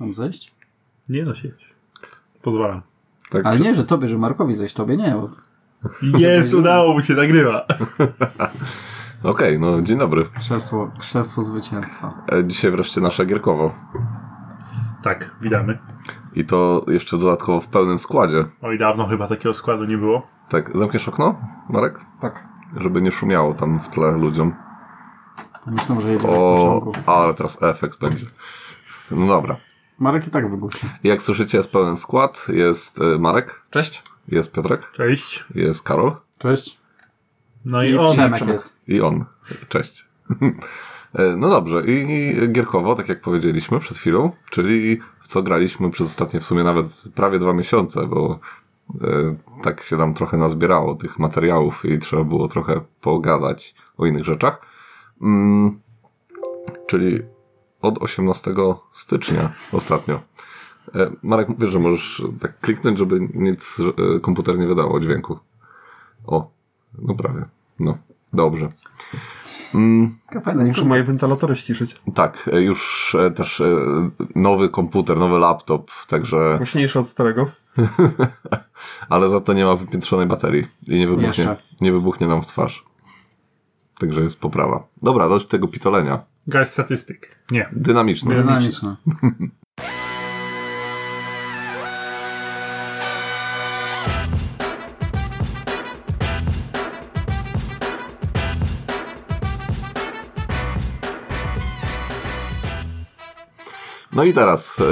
Mam zejść? Nie no, sieć. Pozwalam. Tak, Ale nie, że tobie, że Markowi zejść, tobie nie. Bo... Jest, udało mu się, nagrywa. Okej, no dzień dobry. Krzesło, krzesło zwycięstwa. E, Dzisiaj wreszcie nasza gierkowo. Tak, witamy. I to jeszcze dodatkowo w pełnym składzie. Oj, dawno chyba takiego składu nie było. Tak, zamkniesz okno, Marek? Tak. Żeby nie szumiało tam w tle ludziom. Myślę, że jedziemy w O, pociągu. ale teraz efekt będzie. No dobra. Marek i tak wygłusi. Jak słyszycie, jest pełen skład. Jest e, Marek. Cześć. Jest Piotrek. Cześć. Jest Karol. Cześć. No i, on. Przemek jest. I on. Cześć. E, No dobrze, i i gierkowo, tak jak powiedzieliśmy przed chwilą, czyli w co graliśmy przez ostatnie w sumie nawet prawie dwa miesiące, bo e, tak się nam trochę nazbierało tych materiałów i trzeba było trochę pogadać o innych rzeczach. Mm, czyli od 18 stycznia ostatnio. E, Marek, mówię, że możesz tak kliknąć, żeby nic e, komputer nie wydało dźwięku. O, no prawie. No, dobrze. Mm, Taka Fajna, nie Muszę moje wentylatory ściszyć. tak, e, już e, też e, nowy komputer, nowy laptop, także. Głośniejsze od starego. Ale za to nie ma wypiętrzonej baterii i nie wybuchnie, Jeszcze. nie wybuchnie nam w twarz. Także jest poprawa. Dobra, dość tego pitolenia. Garść statystyk. Nie. Dynamiczne. dynamiczna. No i teraz, e,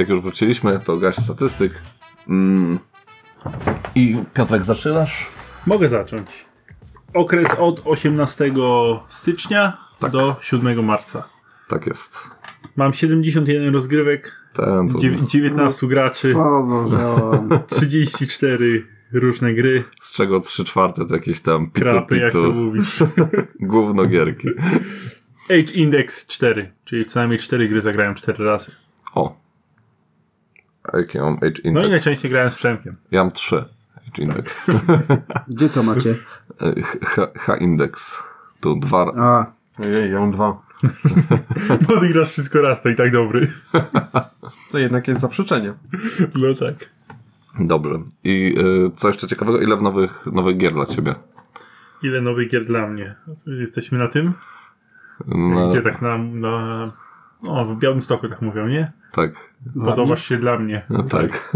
jak już wróciliśmy, to gaś statystyk. Mm. I Piotrek, zaczynasz? Mogę zacząć. Okres od 18 stycznia Tak. do 7 marca. Tak jest. Mam 71 rozgrywek, Ten to dziew- 19 graczy, Co za ziołem. 34 różne gry, z czego trzy czwarte to jakieś tam krapy, jak to pitu-pitu, mówisz. gówno gierki. Age Index 4, czyli co najmniej 4 gry zagrałem 4 razy. O. A Jaki mam Age No i Index? najczęściej grałem z Przemkiem. Ja mam trzy Age Index. Gdzie to macie? E, H- H-Index. Tu dwa... A, Ojej, ja mam dwa. Bo ty grasz wszystko raz, to i tak dobry. To jednak jest zaprzeczenie. No tak. Dobrze. I e, co jeszcze ciekawego? Ile w nowych, nowych gier dla ciebie? Ile nowych gier dla mnie? Jesteśmy na tym? Na, Gdzie tak na, na... No, w Białymstoku tak mówią, nie? tak. Podobasz się dla mnie. No, tak.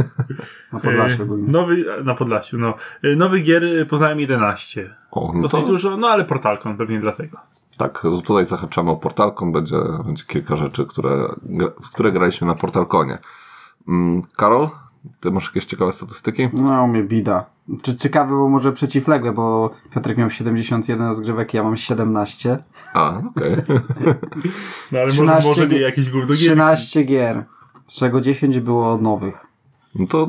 na Podlasiu E, ogólnie. nowy, na Podlasiu, no. E, Nowych gier e, poznałem 11. O, no Dosyć to, dużo, no ale Portalkon pewnie dlatego. tak, z- tutaj zahaczamy o Portalkon. Będzie, będzie kilka rzeczy, które, gra- w które graliśmy na Portalkonie. Mm, Karol, ty masz jakieś ciekawe statystyki? No, u mnie bida. Czy ciekawe, bo może przeciwległe, bo Piotrek miał 71 rozgrywek, ja mam 17. A, okej. No ale może, 13 może nie gier- jakieś gówno gier. 13 gier, z czego 10 było nowych. No to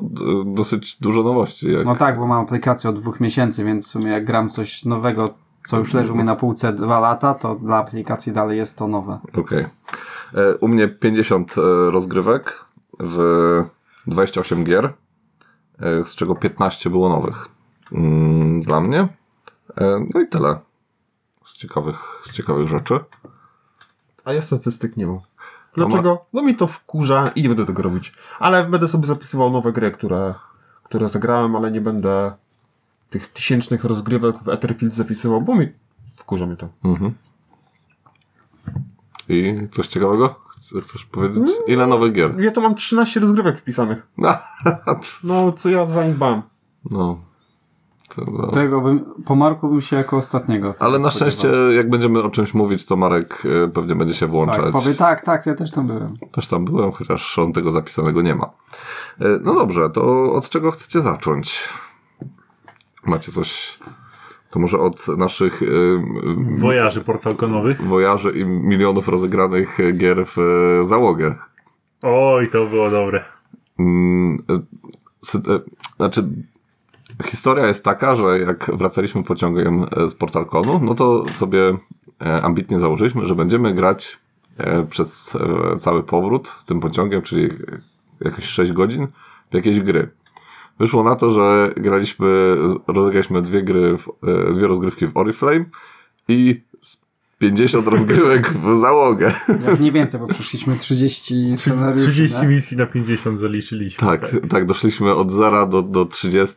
e, dosyć dużo nowości. Jak, No tak, bo mam aplikację od dwóch miesięcy, więc w sumie jak gram coś nowego, co już leży u mnie na półce dwa lata, to dla aplikacji dalej jest to nowe. Okej. E, U mnie 50 e, rozgrywek w 28 gier, e, z czego 15 było nowych. Mm, Dla mnie. E, No i tyle. Z ciekawych, z ciekawych rzeczy. A ja statystyk nie mam. Dlaczego? No mi to wkurza i nie będę tego robić. Ale będę sobie zapisywał nowe gry, które, które zagrałem, ale nie będę tych tysięcznych rozgrywek w Etherfield zapisywał, bo mi wkurza mnie to. Mhm. I coś ciekawego? Chce- Chcesz powiedzieć? Ile nowych gier? Ja to mam 13 rozgrywek wpisanych. No, No, co ja zaniedbałem. no. To, no. Tego bym, po Marku bym się jako ostatniego. tego Ale na spodziewał. szczęście, jak będziemy o czymś mówić, to Marek e, pewnie będzie się Tak, włączać. powie tak, tak, ja też tam byłem. Też tam byłem, chociaż on tego zapisanego nie ma. E, No dobrze, to od czego chcecie zacząć? Macie coś. To może od naszych e, m, Wojarzy portalkonowych. wojarzy i milionów rozegranych e, gier w e, załogę. Oj, to było dobre. Mm, e, sy- e, Znaczy, historia jest taka, że jak wracaliśmy pociągiem e, z Portalkonu, no to sobie e, ambitnie założyliśmy, że będziemy grać e, przez e, cały powrót tym pociągiem, czyli e, jakieś 6 godzin w jakieś gry. Wyszło na to, że graliśmy, z- rozegraliśmy dwie gry, w, e, dwie rozgrywki w Oriflame i z 50 rozgrywek w załogę. Jak mniej więcej, bo przeszliśmy 30 scenariuszy. 30 nie? misji na 50 zaliczyliśmy. Tak, tak, doszliśmy od zera do, do 30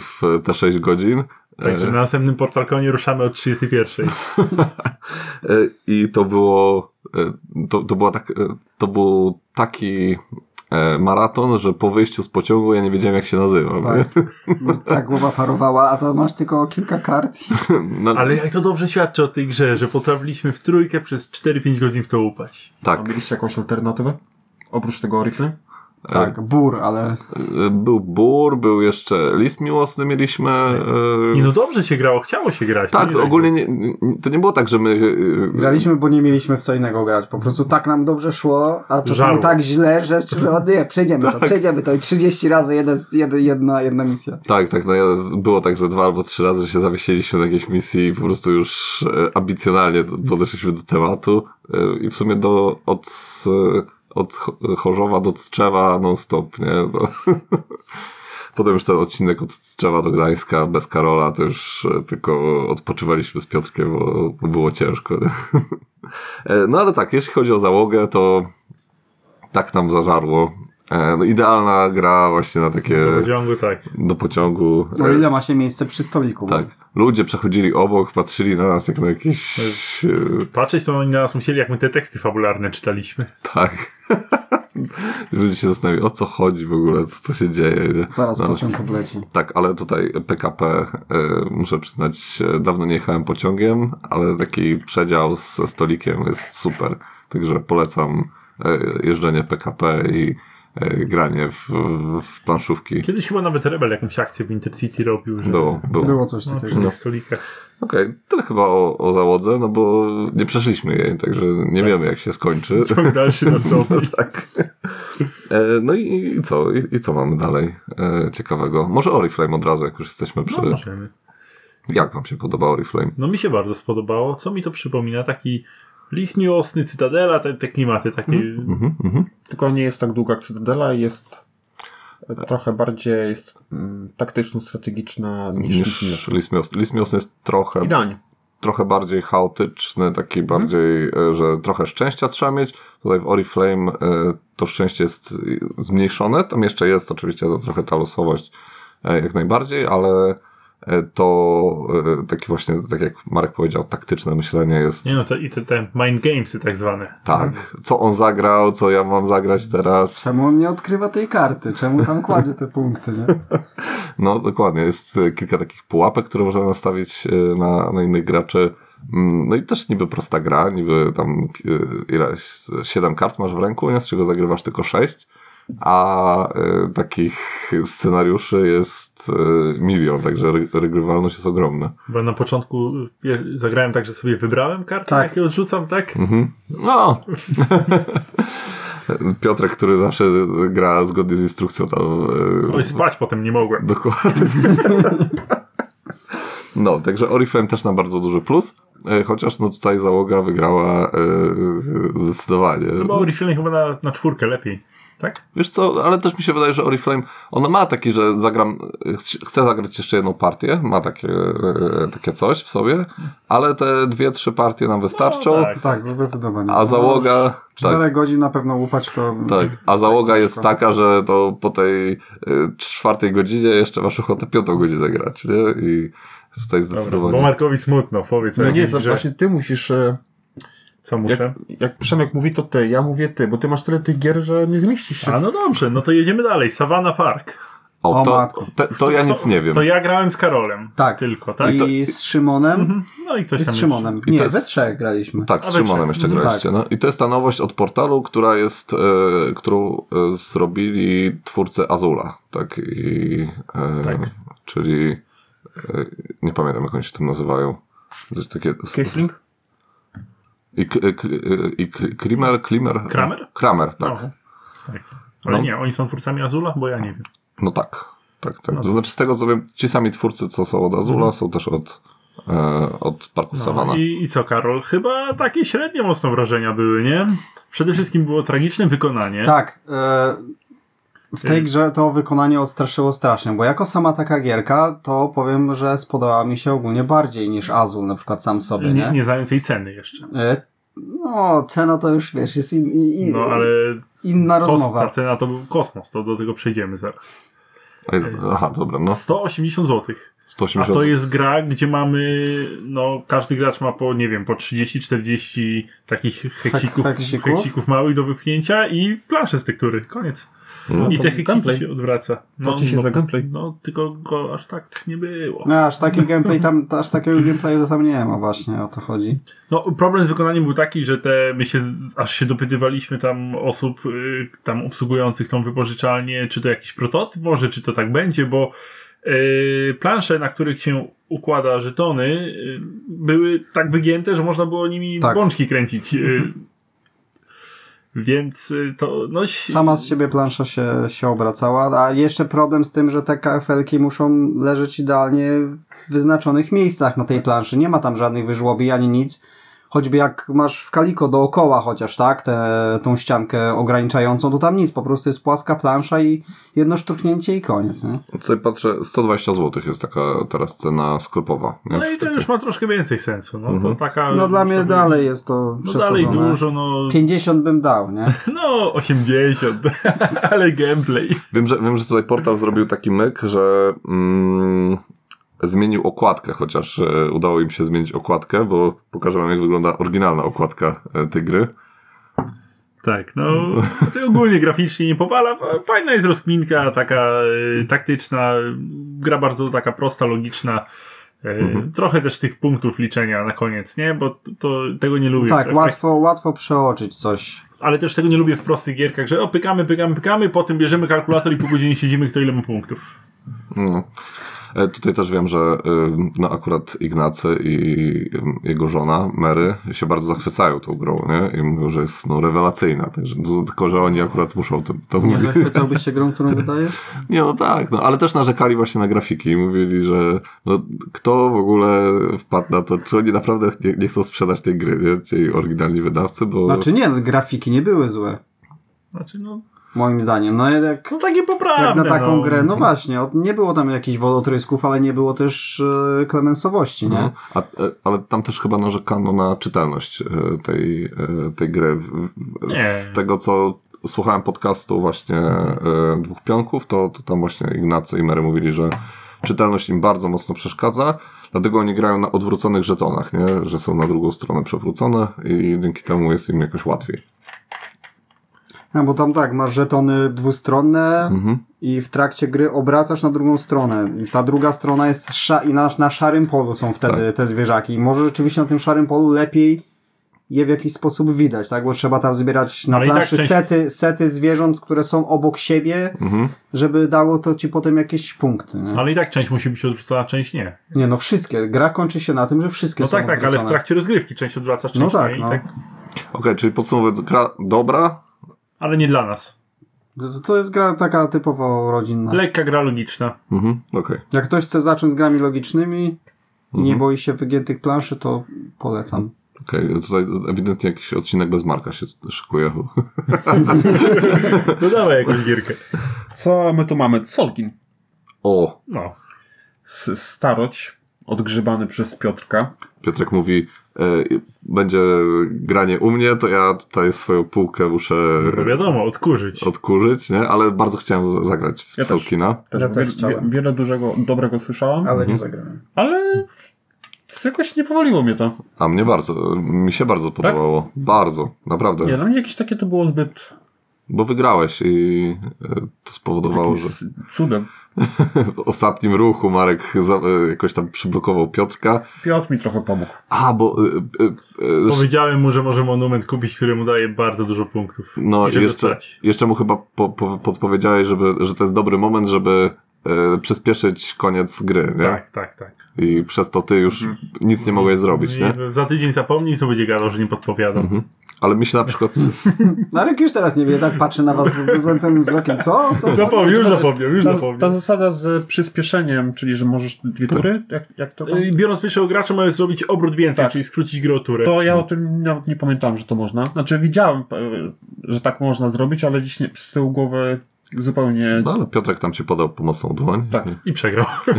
w te 6 godzin. Także na następnym portalkonie ruszamy od 31. E, I to było, e, to, to, była tak, e, to był taki e, maraton, że po wyjściu z pociągu ja nie wiedziałem jak się nazywa. Tak. Bo Ta głowa parowała, a to masz tylko kilka kart. I... No, Ale jak to dobrze świadczy o tej grze, że potrafiliśmy w trójkę przez 4-5 godzin w to łupać. tak, A mieliście jakąś alternatywę? Oprócz tego Oriflame? Tak, bur, ale e, był bór, był jeszcze list miłosny mieliśmy. e, Nie no dobrze się grało, chciało się grać. Tak, nie to ogólnie nie, nie- to nie było tak, że my... e, graliśmy, bo nie mieliśmy w co innego grać. Po prostu tak nam dobrze szło, a czasami Żarło. tak źle, że że o nie, przejdziemy to, przejdziemy to i 30 razy jeden, jeden, jedna, jedna misja. Tak, tak, no ja, było tak ze dwa albo trzy razy, że się zawiesiliśmy na jakiejś misji i po prostu już e, ambicjonalnie do- podeszliśmy do tematu e, i w sumie do, od, s- od Cho- e, Chorzowa do Tczewa non stop, nie? No. Potem już ten odcinek od Tczewa do Gdańska bez Karola to już e, tylko odpoczywaliśmy z Piotrkiem, bo, bo było ciężko. Nie? E, No ale tak, jeśli chodzi o załogę, to tak nam zażarło. E, No, idealna gra właśnie na takie Do pociągu tak. do pociągu. O E, No ile ma się miejsce przy stoliku. tak. Ludzie przechodzili obok, patrzyli na nas jak na jakieś. E, Patrzeć to oni na nas musieli, jak my te teksty fabularne czytaliśmy. tak. Ludzie się zastanawiali, o co chodzi w ogóle, co, co się dzieje. Nie? Zaraz No, pociąg odleci. Tak, ale tutaj PKP, e, muszę przyznać, e, dawno nie jechałem pociągiem, ale taki przedział ze stolikiem jest super. Także polecam e, jeżdżenie PKP i e, granie w, w planszówki. Kiedyś chyba nawet Rebel jakąś akcję w Intercity robił, że... Było, było. Było coś No, takiego. przy tych stolikach. Okej, tyle chyba o, o załodze, no bo nie przeszliśmy jej, także nie wiemy jak się skończy. Ciąg dalszy na No sobie. tak. E, no i, i co? I, I co mamy dalej e, ciekawego? Może Oriflame od razu, jak już jesteśmy przy... No, możemy. jak wam się podoba Oriflame? No mi się bardzo spodobało. Co mi to przypomina? Taki list miłosny, Cytadela, te, te klimaty takie... Mhm, mhm. Tylko nie jest tak długa jak Cytadela i jest e, trochę bardziej jest mm, taktyczno-strategiczna niż Niż List Miłosny. List Mios- List Mios jest trochę, Idealnie. trochę bardziej chaotyczny, taki bardziej, e, że trochę szczęścia trzeba mieć. Tutaj w Oriflame e, to szczęście jest e, zmniejszone, tam jeszcze jest oczywiście to trochę ta losowość e, jak najbardziej, ale e, to e, taki właśnie, tak jak Marek powiedział, taktyczne myślenie jest... Nie no, to i te, te mind gamesy tak zwane. Tak. Co on zagrał, co ja mam zagrać teraz. Czemu on nie odkrywa tej karty? Czemu tam kładzie te punkty, nie? No dokładnie, jest e, kilka takich pułapek, które można nastawić e, na, na innych graczy. Mm, No i też niby prosta gra, niby tam e, ileś, siedem kart masz w ręku, nie? z czego zagrywasz tylko sześć, a e, takich scenariuszy jest e, milion, także re- regrywalność jest ogromna. Bo na początku ja zagrałem tak, że sobie wybrałem karty, Tak. jakie odrzucam, tak? Mhm. No. Piotrek, który zawsze gra zgodnie z instrukcją tam... e, Oj, spać potem nie mogłem. Dokładnie. No, także Oriflame też na bardzo duży plus, e, chociaż no tutaj załoga wygrała e, zdecydowanie. Chyba Oriflame chyba na, na czwórkę lepiej, tak? Wiesz co, ale też mi się wydaje, że Oriflame, ona ma taki, że zagram, ch- chcę zagrać jeszcze jedną partię, ma takie, e, takie coś w sobie, ale te dwie, trzy partie nam wystarczą, No, tak. Tak, zdecydowanie. a załoga... No, 4 godzin na pewno łupać to... Tak, a załoga Tak, jest ciężko. taka, że to po tej y, czwartej godzinie jeszcze masz ochotę piątą godzinę grać, nie? I tutaj Dobra, bo zdecydowanie. Markowi smutno, powiedz o No nie, jakiejś to grze, właśnie ty musisz... e, co muszę. Jak, jak Przemek mówi, to ty, ja mówię ty, bo ty masz tyle tych gier, że nie zmieścisz się. A no dobrze, no to jedziemy dalej. Savannah Park. O, O to, matko. te, to ja nic nie wiem. To ja grałem z Karolem. Tak. Tylko, tak? I z Szymonem. Mhm. No i ktoś I tam z Szymonem. I Nie, to jest- we trzech graliśmy. Tak, z Ale Szymonem czy- jeszcze mhm, graliście. No. I to jest ta nowość od portalu, która jest, e, którą e, zrobili twórcy Azula, tak? I, e, Tak. Czyli e, nie pamiętam jak oni się tam nazywają. Coś Takie, Kissing? I, k, e, k, i k, Krimer, Klimer? Kramer? Kramer, tak. Aha. tak. Ale No. nie, oni są twórcami Azula? Bo ja nie wiem. No tak, tak, No tak. To znaczy z tego co wiem, ci sami twórcy, co są od Azula, są też od, e, od Parku Mhm. No, Savana. i, I co, Karol? Chyba takie średnio Tak. mocno wrażenia były, nie? Przede wszystkim było tragiczne wykonanie. Tak. E, W Y. tej grze to wykonanie odstraszyło strasznie, bo jako sama taka gierka, to powiem, że spodobała mi się ogólnie bardziej niż Azul, na przykład sam sobie, nie, nie? nie znając jej ceny jeszcze. E, No, cena to już, wiesz, jest in, in, in, No ale inna kos, ta rozmowa. cena to był kosmos, to do tego przejdziemy zaraz. A ile- Aha, dobra, no. 180 zł. A 180. to jest gra, gdzie mamy, no każdy gracz ma po, nie wiem, po 30-40 takich heksików, heksików? heksików małych do wypchnięcia i planszę z tektury. Koniec. No, I to te heksiki gameplay. się odwraca. Płaci się za gameplay. No, tylko go aż tak nie było. No, aż taki gameplay tam, aż takiego gameplayu to tam nie ma właśnie, o to chodzi. No, problem z wykonaniem był taki, że te, my się, z- aż się dopytywaliśmy tam osób, y, tam obsługujących tą wypożyczalnię, czy to jakiś prototyp może, czy to tak będzie, bo y, plansze, na których się układa żetony, y, były tak wygięte, że można było nimi Tak. Mhm. bączki kręcić. y. Więc y, to, no... ś- Sama z siebie plansza się, się obracała, a jeszcze problem z tym, że te kafelki muszą leżeć idealnie w wyznaczonych miejscach na tej planszy. Nie ma tam żadnych wyżłobi ani nic. Choćby jak masz w kaliko dookoła chociaż, tak, tę tą ściankę ograniczającą, to tam nic, po prostu jest płaska plansza i jedno sztuknięcie i koniec, No, nie? No Tutaj patrzę, 120 zł jest taka teraz cena sklepowa. nie? No i to już ma troszkę więcej sensu. No, Mhm. to taka, No dla mnie żeby- dalej jest to No dalej przesadzone. dużo, no, 50 bym dał, nie? no 80, ale gameplay. Wiem, że, wiem, że tutaj portal zrobił taki myk, że mm, zmienił okładkę, chociaż e, udało im się zmienić okładkę, bo pokażę wam, jak wygląda oryginalna okładka e, tej gry. Tak, no Mm. to ogólnie graficznie nie powala. Fa- Fajna jest rozkminka, taka e, taktyczna, gra bardzo taka prosta, logiczna. E, Mhm. Trochę też tych punktów liczenia na koniec, nie? Bo to, to tego nie lubię. Tak, W- łatwo, łatwo przeoczyć coś. Ale też tego nie lubię w prostych gierkach, że o, pykamy, pykamy, pykamy, potem bierzemy kalkulator i pół godziny siedzimy, kto ile ma punktów. No. E, Tutaj też wiem, że e, no, akurat Ignacy i em, jego żona Mary się bardzo zachwycają tą grą, nie? I mówią, że jest no, rewelacyjna, także no, tylko, że oni akurat muszą to, to Nie no, mówić. zachwycałbyś się grą, którą wydajesz? Nie, no tak, no, ale też narzekali właśnie na grafiki i mówili, że no, kto w ogóle wpadł na to, czy oni naprawdę nie, nie chcą sprzedać tej gry, nie? ci oryginalni wydawcy, bo... Znaczy nie, grafiki nie były złe. Znaczy, no, Moim zdaniem. No jak, no takie poprawne. jak na taką no. grę, no właśnie, od, nie było tam jakichś wodotrysków, ale nie było też e, klemensowości, nie? no, a, e, ale tam też chyba narzekano na czytelność e, tej, e, tej gry. W- w- Nie. Z tego, co słuchałem podcastu właśnie e, Dwóch Pionków, to, to tam właśnie Ignacy i Mary mówili, że czytelność im bardzo mocno przeszkadza, dlatego oni grają na odwróconych żetonach, nie? że są na drugą stronę przewrócone i dzięki temu jest im jakoś łatwiej. No bo tam tak, masz żetony dwustronne Mhm. i w trakcie gry obracasz na drugą stronę. I Ta druga strona jest sza i na, na szarym polu są wtedy Tak. te zwierzaki. I może rzeczywiście na tym szarym polu lepiej je w jakiś sposób widać, tak? Bo trzeba tam zbierać na Ale i tak planszy część- sety, sety zwierząt, które są obok siebie, Mhm. żeby dało to ci potem jakieś punkty. Nie? Ale i tak część musi być odrzucona, część nie. Nie, no wszystkie. Gra kończy się na tym, że wszystkie No są tak, tak, ale w odwrócone. trakcie rozgrywki część odwracasz, część No tak, nie. I no. tak, Okej, czyli podsumowując, gra dobra, ale nie dla nas. To- To jest gra taka typowo rodzinna. Lekka gra logiczna. mhm. okej. Jak ktoś chce zacząć z grami logicznymi i Mhm. nie boi się wygiętych planszy, to polecam. Okej, tutaj ewidentnie jakiś odcinek bez Marka się szykuje. No dawaj jakąś gierkę. Co my tu mamy? Solkin. O, No. S- staroć odgrzebany przez Piotrka. Piotrek mówi, e, będzie granie u mnie, to ja tutaj swoją półkę muszę No wiadomo, odkurzyć. odkurzyć, nie? Ale bardzo chciałem za- zagrać w Ja też. Solkina. Też Ja też wie- chciałem. wie- wiele dużego, dobrego słyszałem, ale, Mhm. nie zagrałem. jakoś nie powaliło mnie to. A mnie bardzo, mi się bardzo podobało. Bardzo, naprawdę. Tak? Nie, dla mnie jakieś takie to było zbyt Bo wygrałeś i e, to spowodowało, takim że s- cudem. w ostatnim ruchu Marek za, e, jakoś tam przyblokował Piotrka. Piotr mi trochę pomógł. A, bo... E, e, e, Powiedziałem mu, że może monument kupić, który mu daje bardzo dużo punktów. No I i żeby jeszcze, stać. jeszcze mu chyba po, po, podpowiedziałeś, żeby, że to jest dobry moment, żeby e, przyspieszyć koniec gry, nie? Tak, tak, tak. No I przez to ty już nic nie mogłeś zrobić, nie? Mhm. I Za tydzień zapomnij, co będzie gadał, że nie podpowiadam. Ale mi się na przykład... Marek już teraz nie wie, tak patrzy na was z z tym wzrokiem. Co? Co? No Zapomniał, już zapomniał, już Ta, zapomniał. ta zasada z przyspieszeniem, czyli że możesz dwie tury, jak, jak to tam? Y, Biorąc pierwszego gracza, mamy zrobić obrót więcej, Tak. czyli skrócić grę o turę. To ja o tym nawet nie pamiętałem, że to można. Znaczy widziałem, e, że tak można zrobić, ale dziś nie, z tyłu głowy zupełnie... No ale Piotrek tam ci podał pomocną dłoń. Tak. I przegrał.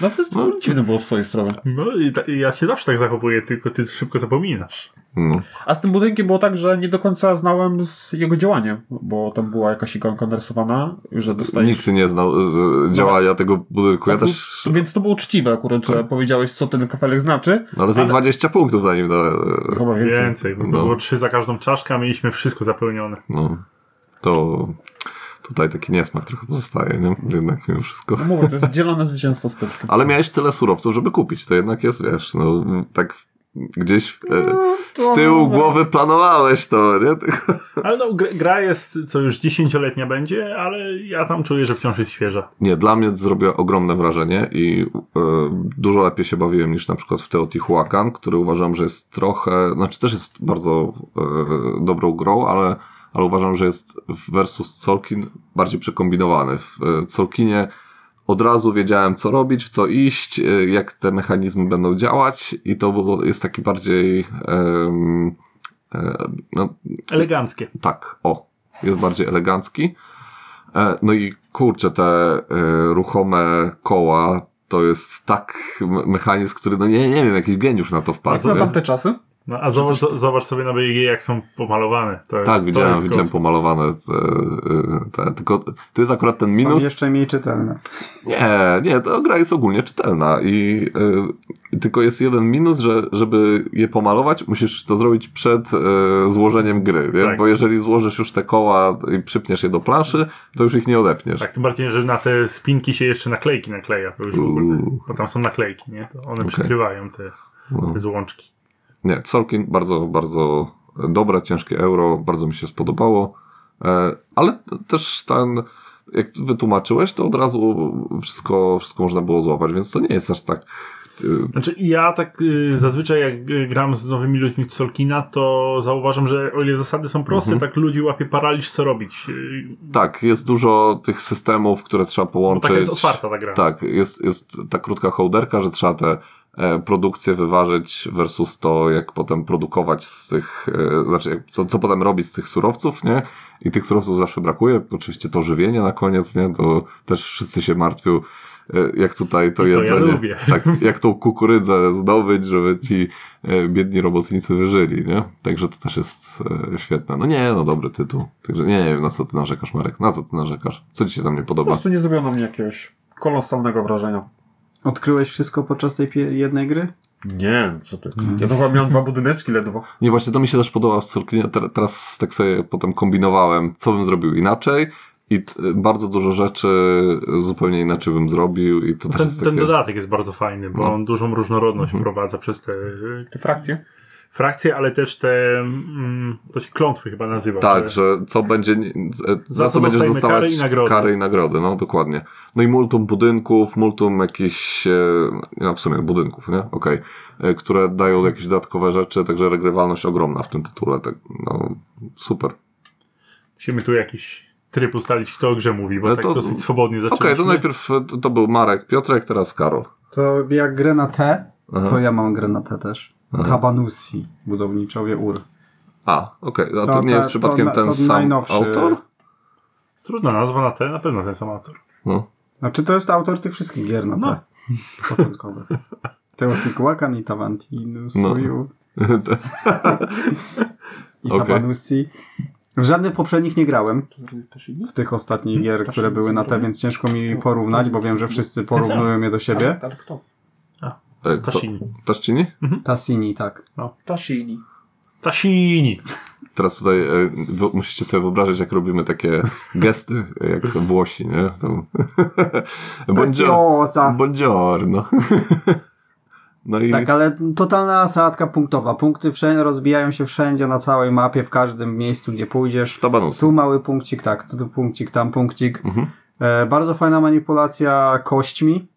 No to, to dziwne było z twojej strony. No i ta, i ja się zawsze tak zachowuję, tylko ty szybko zapominasz. No. A z tym budynkiem było tak, że nie do końca znałem z jego działanie, bo tam była jakaś ikonka narysowana, że dostajesz... Nikt nie znał e, e, działania tego budynku. Ja Tak, też... Tak. To, no, więc to było uczciwe akurat, że powiedziałeś, co ten kafelek znaczy. No ale za ale- 20 punktów na nim. Da, e, Chyba więcej. Więcej, bo to No. było trzy za każdą czaszkę, a mieliśmy wszystko zapełnione. no. To tutaj taki niesmak trochę pozostaje, nie? Jednak mimo wszystko. Mówię, to jest dzielone zwycięstwo z Piotrkiem. Ale miałeś tyle surowców, żeby kupić. To jednak jest, wiesz, no tak w- gdzieś e, No, to z tyłu dobra. głowy planowałeś to, nie? Tylko- Ale no, gr- gra jest, co już dziesięcioletnia będzie, ale ja tam czuję, że wciąż jest świeża. Nie, dla mnie zrobiła ogromne wrażenie i e, dużo lepiej się bawiłem niż na przykład w Teotihuacan, który uważam, że jest trochę, znaczy też jest bardzo e, dobrą grą, ale, ale uważam, że jest w versus Colkin bardziej przekombinowany. W e, Colkinie od razu wiedziałem, co robić, w co iść, e, jak te mechanizmy będą działać i to było, jest taki bardziej em, e, no, Eleganckie. tak, o, jest bardziej elegancki. E, No i kurczę, te e, ruchome koła to jest tak me- mechanizm, który, no nie, nie wiem, jakiś geniusz na to Jak wpadł. na nie? tamte czasy? No, a zobacz, zobacz sobie na BG, jak są pomalowane. To jest, Tak, to widziałem, jest widziałem kosmos. pomalowane te, e, te, tylko tu jest akurat ten Są minus. jeszcze mniej czytelne. Nie, nie, to gra jest ogólnie czytelna i e, tylko jest jeden minus, że żeby je pomalować, musisz to zrobić przed e, złożeniem gry, nie? Tak. bo jeżeli złożysz już te koła i przypniesz je do planszy, to już ich nie odepniesz. Tak, tym bardziej, że na te spinki się jeszcze naklejki nakleja. To już w ogóle, Uuu. bo tam są naklejki, nie? To one Okej. przykrywają te, No. te złączki. Nie, Solkin bardzo, bardzo dobre, ciężkie euro, bardzo mi się spodobało, E, ale też ten, jak wytłumaczyłeś, to od razu wszystko, wszystko można było złapać, więc to nie jest aż tak... e, Znaczy, ja tak y, zazwyczaj, jak y, gram z nowymi ludźmi z Solkina, to zauważam, że o ile zasady są proste, Mhm. tak ludzi łapie paraliż, co robić. Y, Tak, jest dużo tych systemów, które trzeba Bo połączyć. taka jest otwarta ta gra. Tak, jest, jest ta krótka hołderka, że trzeba te e, produkcje wyważyć versus to, jak potem produkować z tych, e, znaczy jak, co, co potem robić z tych surowców, nie? I tych surowców zawsze brakuje. Oczywiście to żywienie na koniec, nie? To też wszyscy się martwią, e, jak tutaj to I to ja jedzenie. lubię. Tak, jak tą kukurydzę zdobyć, żeby ci e, biedni robotnicy wyżyli, nie? Także to też jest e, świetne. No nie, no dobry tytuł. Także nie, nie wiem, na co ty narzekasz, Marek, na co ty narzekasz? Co ci się tam nie Po podoba? prostu nie zrobiło na mnie jakiegoś kolosalnego wrażenia. Odkryłeś wszystko podczas tej pie- jednej gry? Nie, co ty. Mm. Ja to chyba miałem dwa budyneczki ledwo. Nie, właśnie to mi się też podoba w Sorkinie. Ter- Teraz tak sobie potem kombinowałem, co bym zrobił inaczej i t- bardzo dużo rzeczy zupełnie inaczej bym zrobił i to też Ten, jest ten takie... dodatek jest bardzo fajny, bo No. Mhm. on dużą różnorodność wprowadza przez te y, Te frakcje? frakcje, ale też te mm, coś klątwy chyba nazywa. Tak, że- że co będzie, za, za Za co co będziesz dostajemy dostawać kary i nagrody. kary i nagrody, no dokładnie. No i multum budynków, multum jakichś, e, no w sumie budynków, nie? Okej. E, Które dają jakieś dodatkowe rzeczy, także regrywalność ogromna w tym tytule, tak, no super. Musimy tu jakiś tryb ustalić, kto o grze mówi, bo Ale tak No to- dosyć swobodnie Okej, zaczynamy. to najpierw e, to, to był Marek Piotrek, teraz Karol. To jak grę na T, Aha. to ja mam grę na T też. Tabanusi, budowniczowie UR. A, okej. A to, To nie te- jest przypadkiem to na- ten to sam najnowszy- autor? Trudna nazwa na ten, na pewno ten sam autor. No. Znaczy to jest autor tych wszystkich gier na T. No. Początkowych. Teotihuacan i Tavantinus No. Suyu i Okej. Tabanusi. W żadnych poprzednich nie grałem, w tych ostatnich gier, które były na T, więc ciężko mi porównać, bo wiem, że wszyscy porównują je do siebie. Ale kto? E, kto- Tasini. Taszcini? Tassini, tak. Tashini. Tasini! Teraz tutaj e, wy, musicie sobie wyobrazić, jak robimy takie gesty, jak Włosi, nie? Tam. Buongior- Preciosa. Buongiorno. No i Tak, ale totalna sałatka punktowa. Punkty wszędzie, rozbijają się wszędzie, na całej mapie, w każdym miejscu, gdzie pójdziesz. tabanus. Tu mały punkcik, tak, tu, tu punkcik, tam punkcik. Mhm. E, bardzo fajna manipulacja kośćmi.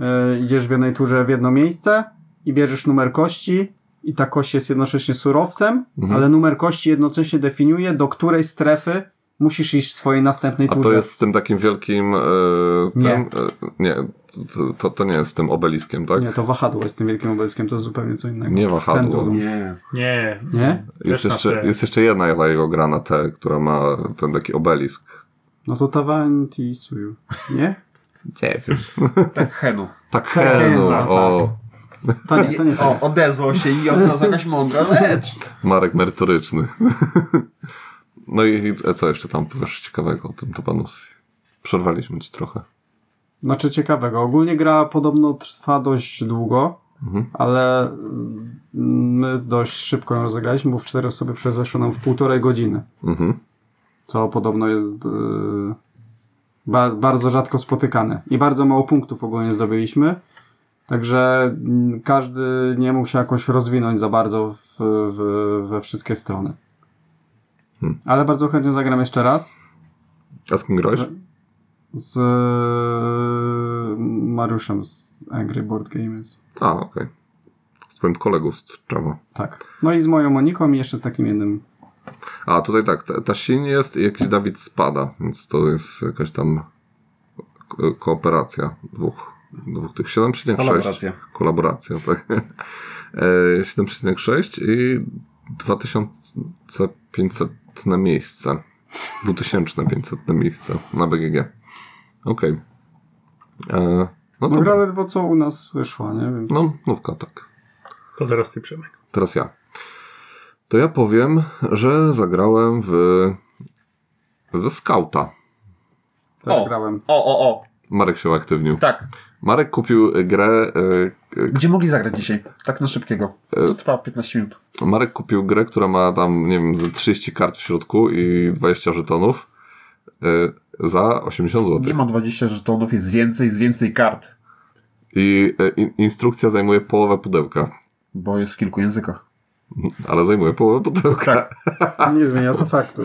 E, idziesz w jednej turze w jedno miejsce i bierzesz numer kości i ta kość jest jednocześnie surowcem, Mhm. ale numer kości jednocześnie definiuje, do której strefy musisz iść w swojej następnej A turze. to jest z tym takim wielkim. E, tym, Nie. E, nie, to, to, to nie jest z tym obeliskiem, tak? Nie, to wahadło jest tym wielkim obeliskiem, to zupełnie co innego. Nie wahadło. Pendulum. Nie. Nie. Nie? Jest Też na jeszcze, T. jest jeszcze jedna jego gra na T, która ma ten taki obelisk. No to Tavanti Suyu, nie? Nie wiem. Tak, Henu. Tak, Henu, tak. o, To nie, to nie to. O, odezwał się i od razu jakaś mądra rzecz. Marek merytoryczny. No i i co jeszcze tam powiesz ciekawego o tym Tabanusi? Przerwaliśmy ci trochę. Znaczy ciekawego. Ogólnie gra podobno trwa dość długo, ale mm, my dość szybko ją rozegraliśmy, bo w cztery osoby przezeszło nam w półtorej godziny. Mhm. Co podobno jest yy, ba- bardzo rzadko spotykane. I bardzo mało punktów ogólnie zdobyliśmy. Także mm, każdy nie mógł się jakoś rozwinąć za bardzo w, w, we wszystkie strony. Ale bardzo chętnie zagram jeszcze raz A z kim grałeś? z mm, Mariuszem z Angry Board Games. A, okej. Z twoim kolegą z Java. Tak. No i z moją Moniką i jeszcze z takim jednym. A, tutaj tak, ta, ta Shin jest i jakiś Dawid Spada, więc to jest jakaś tam ko- kooperacja dwóch, dwóch tych 7,6. Kolaboracja. Kolaboracja, tak. E, 7,6 i 2500 na miejsce. 2500 na miejsce na BGG. Okej. E, No No gra dobra. ledwo co u nas wyszła, nie? Więc... No, mówka, tak. To teraz ty Przemek. Teraz ja. To ja powiem, że zagrałem w, w Skauta. też O. grałem. O, o, o. Marek się uaktywnił. Tak. Marek kupił y, grę. y, y, Gdzie mogli zagrać dzisiaj? Tak na szybkiego. E, To trwa 15 minut. e, Marek kupił grę, która ma tam, nie wiem, ze 30 kart w środku i 20 żetonów y, za 80 zł. Nie ma 20 żetonów, jest więcej, jest więcej kart. I y, in- instrukcja zajmuje połowę pudełka. Bo jest w kilku językach. Ale zajmuje połowę pudełka. Tak. Nie zmienia to faktu.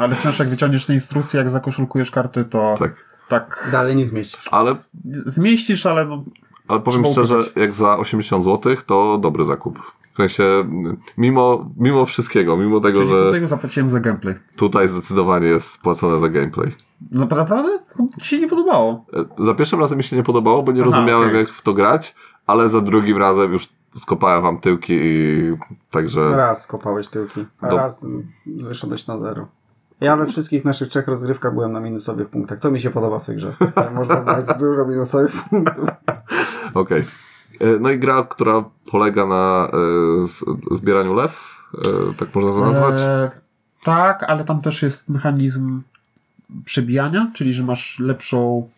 Ale wciąż jak wyciągniesz te instrukcje, jak zakoszulkujesz karty, to tak. Tak. Dalej nie zmieścisz. Ale, zmieścisz, ale no, ale powiem Trzeba szczerze, ubrać. jak za 80 zł, to dobry zakup. W sensie, m, mimo, mimo wszystkiego, mimo tego, czyli że tutaj już zapłaciłem za gameplay. tutaj zdecydowanie jest spłacone za gameplay. No, naprawdę? Ci się nie podobało. E, Za pierwszym razem mi się nie podobało, bo nie Aha, rozumiałem, okej. jak w to grać, ale za drugim razem już skopałem wam tyłki i także. Raz kopałeś tyłki, a Tak. Do- raz wyszedłeś na zero. Ja we wszystkich naszych trzech rozgrywkach byłem na minusowych punktach. To mi się podoba w tej grze. Tam Można znaleźć dużo minusowych punktów. Okej. E, No i gra, która polega na e, z- zbieraniu lew, e, tak można to nazwać. E, tak, ale tam też jest mechanizm przebijania, czyli że masz lepszą.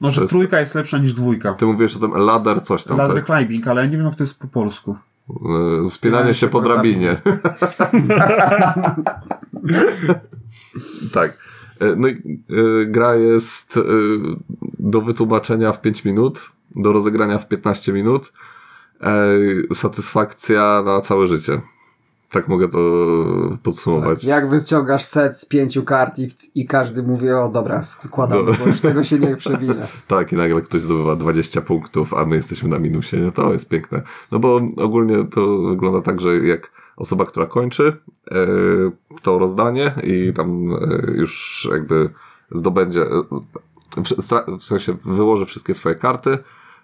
No, że To jest- trójka jest lepsza niż dwójka. Ty mówisz o tym ladder, coś tam. Ladder tak. climbing, ale ja nie wiem jak to jest po polsku. E, Wspinanie się po drabinie. tak. E, No i e, gra jest e, do wytłumaczenia w 5 minut, do rozegrania w 15 minut. E, Satysfakcja na całe życie. Tak mogę to podsumować. Jak wyciągasz set z pięciu kart i, i każdy mówi, o dobra, składam, Dobra. bo już tego się nie przewinie. Tak, i nagle ktoś zdobywa 20 punktów, a my jesteśmy na minusie. No to jest piękne. No bo ogólnie to wygląda tak, że jak osoba, która kończy e, to rozdanie i tam e, już jakby zdobędzie, e, w, stra- w sensie wyłoży wszystkie swoje karty,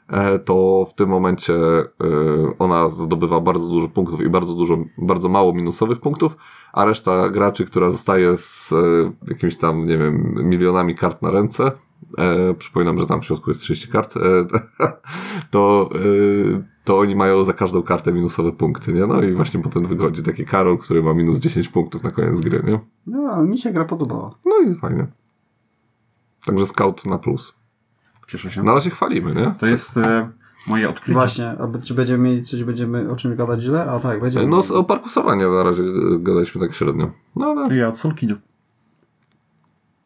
e, to w tym momencie e, ona zdobywa bardzo dużo punktów i bardzo dużo, bardzo mało minusowych punktów, a reszta graczy, która zostaje z e, jakimiś tam, nie wiem, milionami kart na ręce, e, przypominam, że tam w środku jest 30 kart, e, to, e, to oni mają za każdą kartę minusowe punkty, nie? No i właśnie potem wychodzi taki Karol, który ma minus 10 punktów na koniec gry, nie? No, ale mi się gra podobała. No i fajnie. Także scout na plus. Cieszę się. Na razie chwalimy, nie? To jest e, moje odkrycie. Właśnie, a czy będziemy mieli coś, będziemy o czym gadać źle? A tak, będziemy. No z- o parku Savania na razie e, gadaliśmy tak średnio. No ale... I Ja od Solkinu.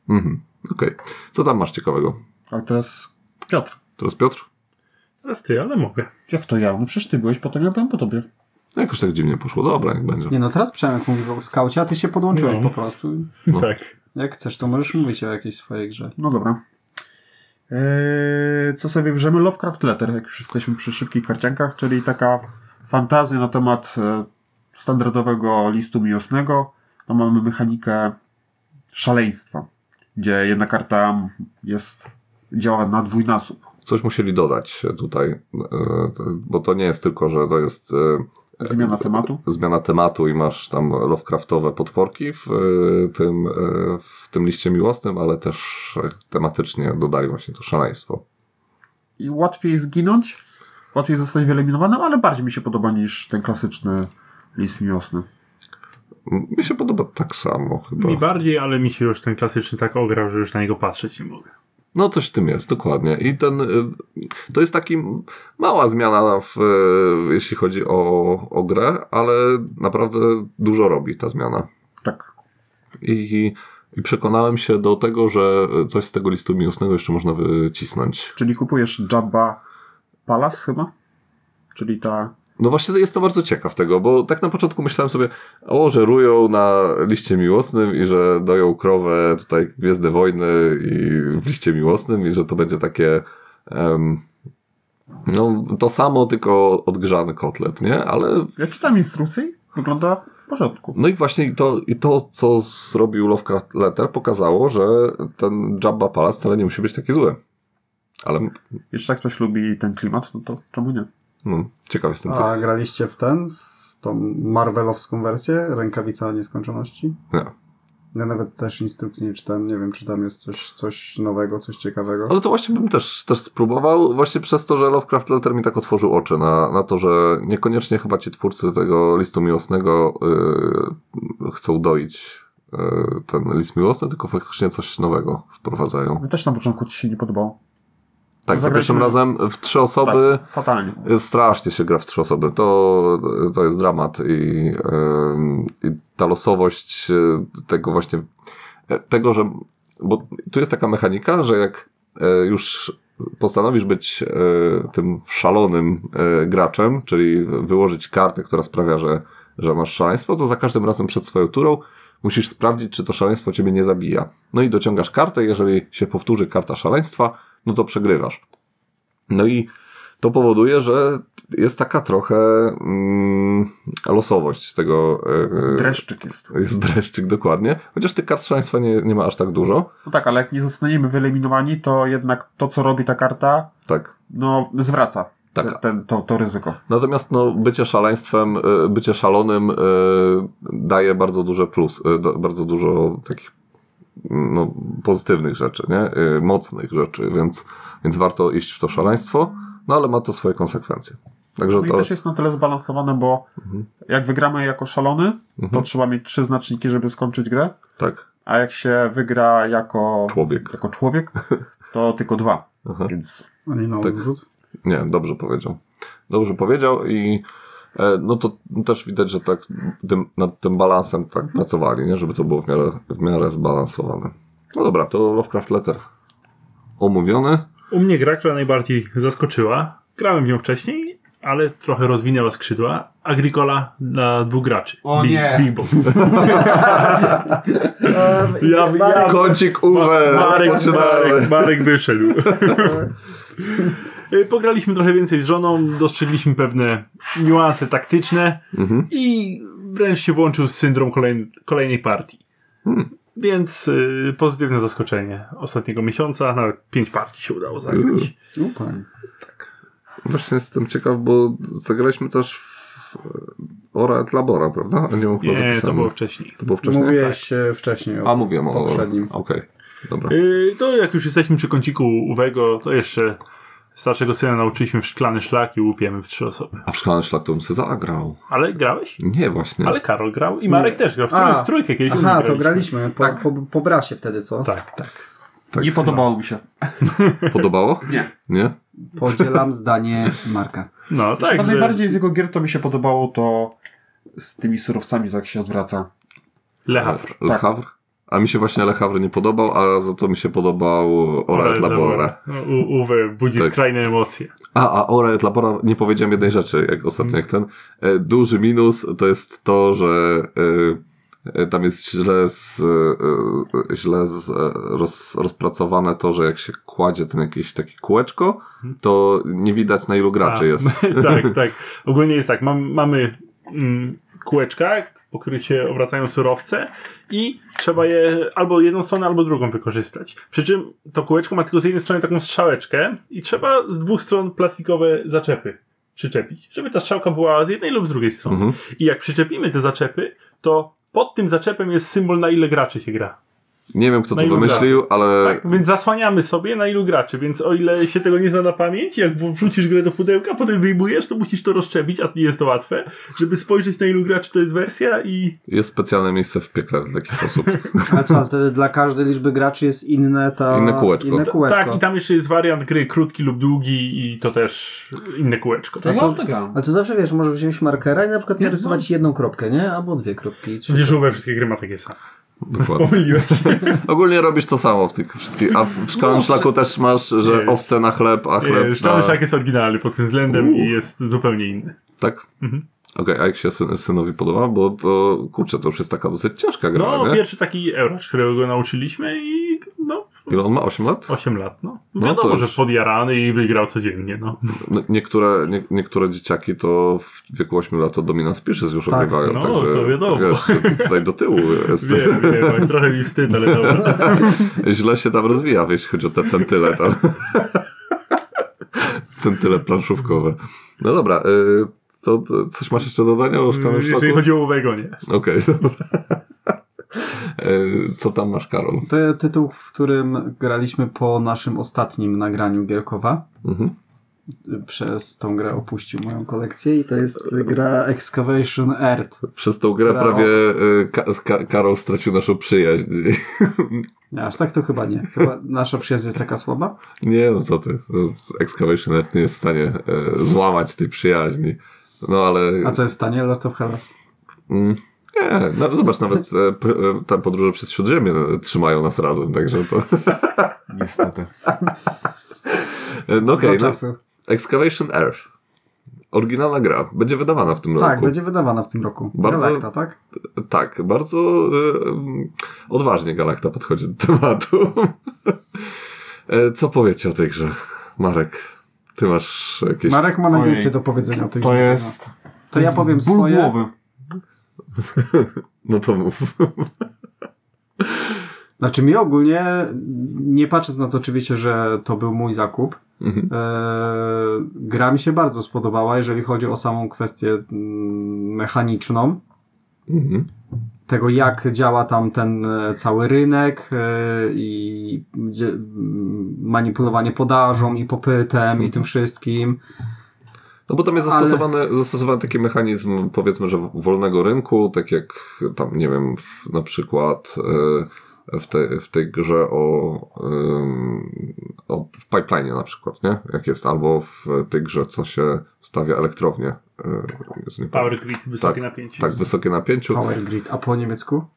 Mhm. Okej. Co tam masz ciekawego? A teraz Piotr. Teraz Piotr? Teraz ty, ale mogę. Jak to ja? No przecież ty byłeś, potem ja byłem po tobie. Jakoś tak dziwnie poszło. Dobra, jak będzie. Nie no, teraz Przemek mówi o skaucie, a ty się podłączyłeś No. po prostu. No. Tak. Jak chcesz, to możesz mówić o jakiejś swojej grze. No dobra. Eee, co sobie bierzemy? Lovecraft Letter, jak już jesteśmy przy szybkich karciankach, czyli taka fantazja na temat e, standardowego listu miłosnego. Tam mamy mechanikę szaleństwa, gdzie jedna karta jest działa na dwójnasób. Coś musieli dodać tutaj, e, to- bo to nie jest tylko, że to jest e, Zmiana tematu. zmiana tematu i masz tam Lovecraftowe potworki w y, tym, y, w tym liście miłosnym, ale też y, tematycznie dodali właśnie to szaleństwo. I łatwiej zginąć, łatwiej zostać wyeliminowanym, ale bardziej mi się podoba niż ten klasyczny list miłosny. M- Mi się podoba tak samo chyba. Mi bardziej, ale mi się już ten klasyczny tak ograł, że już na niego patrzeć nie mogę. No coś w tym jest, dokładnie. I ten, y, to jest taki m- mała zmiana, w, y, jeśli chodzi o, o grę, ale naprawdę dużo robi ta zmiana. Tak. I, I przekonałem się do tego, że coś z tego listu miłosnego jeszcze można wycisnąć. Czyli kupujesz Jabba Palace chyba? Czyli ta... No właśnie jestem bardzo ciekaw tego, bo tak na początku myślałem sobie, o, że rują na liście miłosnym i że doją krowę tutaj Gwiezdne Wojny i w liście miłosnym i że to będzie takie em, no to samo, tylko odgrzany kotlet, nie? Ale Ja czytam instrukcję i wygląda w porządku. no i właśnie i to, i to co zrobił Lovecraft Letter pokazało, że ten Jabba Palace wcale nie musi być taki zły. Ale Jeszcze jak tak ktoś lubi ten klimat, no to czemu nie? no, ciekaw jestem. A graliście w ten, w tą marvelowską wersję, Rękawica Nieskończoności? Nie. Ja nawet też instrukcji nie czytałem, nie wiem czy tam jest coś, coś nowego, coś ciekawego. Ale to właśnie bym też, też spróbował, właśnie przez to, że Lovecraft Letter mi tak otworzył oczy na, na to, że niekoniecznie chyba ci twórcy tego listu miłosnego yy, chcą doić yy, ten list miłosny, tylko faktycznie coś nowego wprowadzają. No też na początku ci się nie podobało. Tak, za pierwszym razem w trzy osoby. Tak, fatalnie. Strasznie się gra w trzy osoby. To, to jest dramat i, em, i ta losowość e, tego właśnie, e, tego, że, bo tu jest taka mechanika, że jak e, już postanowisz być e, tym szalonym e, graczem, czyli wyłożyć kartę, która sprawia, że, że masz szaleństwo, to za każdym razem przed swoją turą musisz sprawdzić, czy to szaleństwo ciebie nie zabija. No i dociągasz kartę, jeżeli się powtórzy karta szaleństwa, no to przegrywasz. No i to powoduje, że jest taka trochę mm, losowość tego. e, Dreszczyk jest. Jest dreszczyk, dokładnie. Chociaż tych kart szaleństwa nie, nie ma aż tak dużo. No tak, ale jak nie zostaniemy wyeliminowani, to jednak to, co robi ta karta, Tak. no zwraca Tak. te, ten, to, to ryzyko. Natomiast no, bycie szaleństwem, e, bycie szalonym e, daje bardzo duże plus, e, da- bardzo dużo takich no, pozytywnych rzeczy, nie? E, Mocnych rzeczy, więc, więc warto iść w to szaleństwo, no ale ma to swoje konsekwencje. Także No i to... też jest na tyle zbalansowane, bo Mhm. jak wygramy jako szalony, to Mhm, trzeba mieć trzy znaczniki, żeby skończyć grę, tak, a jak się wygra jako, człowiek. jako człowiek, to tylko dwa. Aha. Więc Oni na Tak. odwrót. Nie, dobrze powiedział. Dobrze powiedział i e, no to też widać, że tak tym, nad tym balansem tak pracowali, nie? żeby to było w miarę, w miarę zbalansowane. No dobra, to Lovecraft Letter omówiony. U mnie gra, która najbardziej zaskoczyła, grałem w nią wcześniej, ale trochę rozwinęła skrzydła, Agricola na dwóch graczy. O Big- nie. Big Boss. Ja, ja- Kącik Uwe, Marek, rozpoczynamy. Marek, Marek wyszedł. Y, Pograliśmy trochę więcej z żoną, dostrzegliśmy pewne niuanse taktyczne Mhm. i wręcz się włączył z syndrom kolejn, kolejnej partii. Hmm. Więc y, pozytywne zaskoczenie ostatniego miesiąca, nawet pięć partii się udało zagrać. Uuu. Upa. Właśnie jestem ciekaw, bo zagraliśmy też w Ora et Labora, prawda? A Nie mam chyba Nie, E, to no zapisane. było wcześniej. to było wcześniej? Tak. Mówiłeś e, wcześniej o A mówiłem o poprzednim. Ora. Okej, dobra. Y, to jak już jesteśmy przy kąciku Uwego, to jeszcze starszego syna nauczyliśmy w szklany szlak i łupiemy w trzy osoby. A w Szklany Szlak to bym sobie zagrał. Ale grałeś? Nie, właśnie. Ale Karol grał i Marek Nie. też grał. W, A. trój, w trójkę kiedyś Aha, to graliśmy po, po, po brasie wtedy, co? Tak, tak. Tak. nie podobało mi się. Podobało? Nie. Nie? Podzielam zdanie Marka. No tak, Chyba że- najbardziej z jego gier to mi się podobało to z tymi surowcami, to jak się odwraca. Le Havre. Le Havre? A mi się właśnie Le Havre nie podobał, a za to mi się podobał Ora et Labora. No, U, Uwe budzi Tak. skrajne emocje. A, a Ora et Labora, nie powiedziałem jednej rzeczy, jak ostatnio, jak ten. E, Duży minus to jest to, że e, e, tam jest źle, z, e, e, źle z, e, roz, rozpracowane to, że jak się kładzie ten jakieś takie kółeczko, to nie widać na ilu graczy Mhm. A, jest. tak, tak. Ogólnie jest tak, mam, mamy mm, kółeczka, po których się obracają surowce i trzeba je albo jedną stronę, albo drugą wykorzystać. Przy czym to kółeczko ma tylko z jednej strony taką strzałeczkę i trzeba z dwóch stron plastikowe zaczepy przyczepić, żeby ta strzałka była z jednej lub z drugiej strony. Mhm. I jak przyczepimy te zaczepy, to pod tym zaczepem jest symbol, na ile graczy się gra. Nie wiem, kto No to i wymyślił, ale Tak? Więc zasłaniamy sobie, na ilu graczy. Więc o ile się tego nie zna na pamięć, jak wrzucisz grę do pudełka, potem wyjmujesz, to musisz to rozszczepić, a nie jest to łatwe, żeby spojrzeć, na ilu graczy to jest wersja i jest specjalne miejsce w piekle dla takich osób. A co, ale wtedy dla każdej liczby graczy jest inne ta... Inne kółeczko. Inne kółeczko. Tak, i tam jeszcze jest wariant gry krótki lub długi i to też inne kółeczko. tak. To A ja No to- w to gram. Ale to zawsze wiesz, możesz wziąć markera i na no. przykład narysować jedną kropkę, nie? Albo dwie kropki. i trzy. Przecież we wszystkie gry ma takie same. Dokładnie. Pomyliłeś się. Ogólnie robisz to samo w tych wszystkich. A w w szklanym szlaku też masz, że Nie. owce na chleb, a chleb Nie, na... Szczały Szlak E, jest oryginalny pod tym względem No. Uuu. i jest zupełnie inny. Tak? Mhm. Okej, a jak się syn, synowi podoba? Bo to, kurczę, to już jest taka dosyć ciężka gra, No, nie? pierwszy taki Eurocz, którego go nauczyliśmy i no, Ile on ma? 8 lat? 8 lat, no. No Wiadomo, to już- że podjarany i by grał codziennie, no. No, niektóre, nie, niektóre dzieciaki to w wieku 8 lat to Domina Species już Tak, ogrywają. no, także, to wiadomo. Wiesz, tutaj do tyłu jest. Wiem, wiem, oj, trochę mi wstyd, ale dobra. Źle się tam rozwija, jeśli chodzi o te centyle tam. centyle planszówkowe. No dobra, y, to, to coś masz jeszcze do dodania o Tak. szklanym szlaku? Mm, Jeżeli chodzi o owego, nie. Okej. dobra. E, Co tam masz, Karol? To jest tytuł, w którym graliśmy po naszym ostatnim nagraniu Gierkowa. Mhm. Przez tą grę opuścił moją kolekcję i to jest gra Excavation Earth. Przez tą grę Brawo. prawie e, Ka- Ka- Karol stracił naszą przyjaźń. Nie, Aż tak to chyba nie. Chyba nasza przyjaźń jest taka słaba. Nie, no co ty. no, Excavation Earth nie jest w stanie e, złamać tej przyjaźni. No ale... A co jest w stanie? Lord of Hellas. Mm, nie, no, zobacz, nawet e, p- e, tam podróże przez Śródziemie e, trzymają nas razem, także to... Niestety. E, No okej, Do no, czasu. Excavation Earth. Oryginalna gra. Będzie wydawana w tym Tak, roku. będzie wydawana w tym roku. Bardzo- Galacta, tak? Tak, bardzo e, mm, odważnie Galakta podchodzi do tematu. E, Co powiecie o tej grze? Marek, ty masz jakieś... Marek ma Ojej. najwięcej do powiedzenia o tej To grze. jest... To ja jest powiem ból swoje. głowy. No to mów. Znaczy mi ogólnie, nie patrząc na to oczywiście, że to był mój zakup, Mhm. Eee, gra mi się bardzo spodobała, jeżeli chodzi o samą kwestię mm, mechaniczną. Mhm. Tego, jak działa tam ten e, cały rynek e, i gdzie, mm, manipulowanie podażą i popytem i Mhm. tym wszystkim. No bo tam jest Ale- zastosowany, zastosowany taki mechanizm, powiedzmy, że wolnego rynku, tak jak tam, nie wiem, w, na przykład e, w, te, w tej grze o, ym, o w pipeline na przykład, nie? Jak jest, albo w tej grze, co się stawia elektrownie. e, Jezu, nie pamiętam. Power grid, wysokie napięcie. Tak, wysokie napięciu. Power Grid, a po niemiecku? Tak.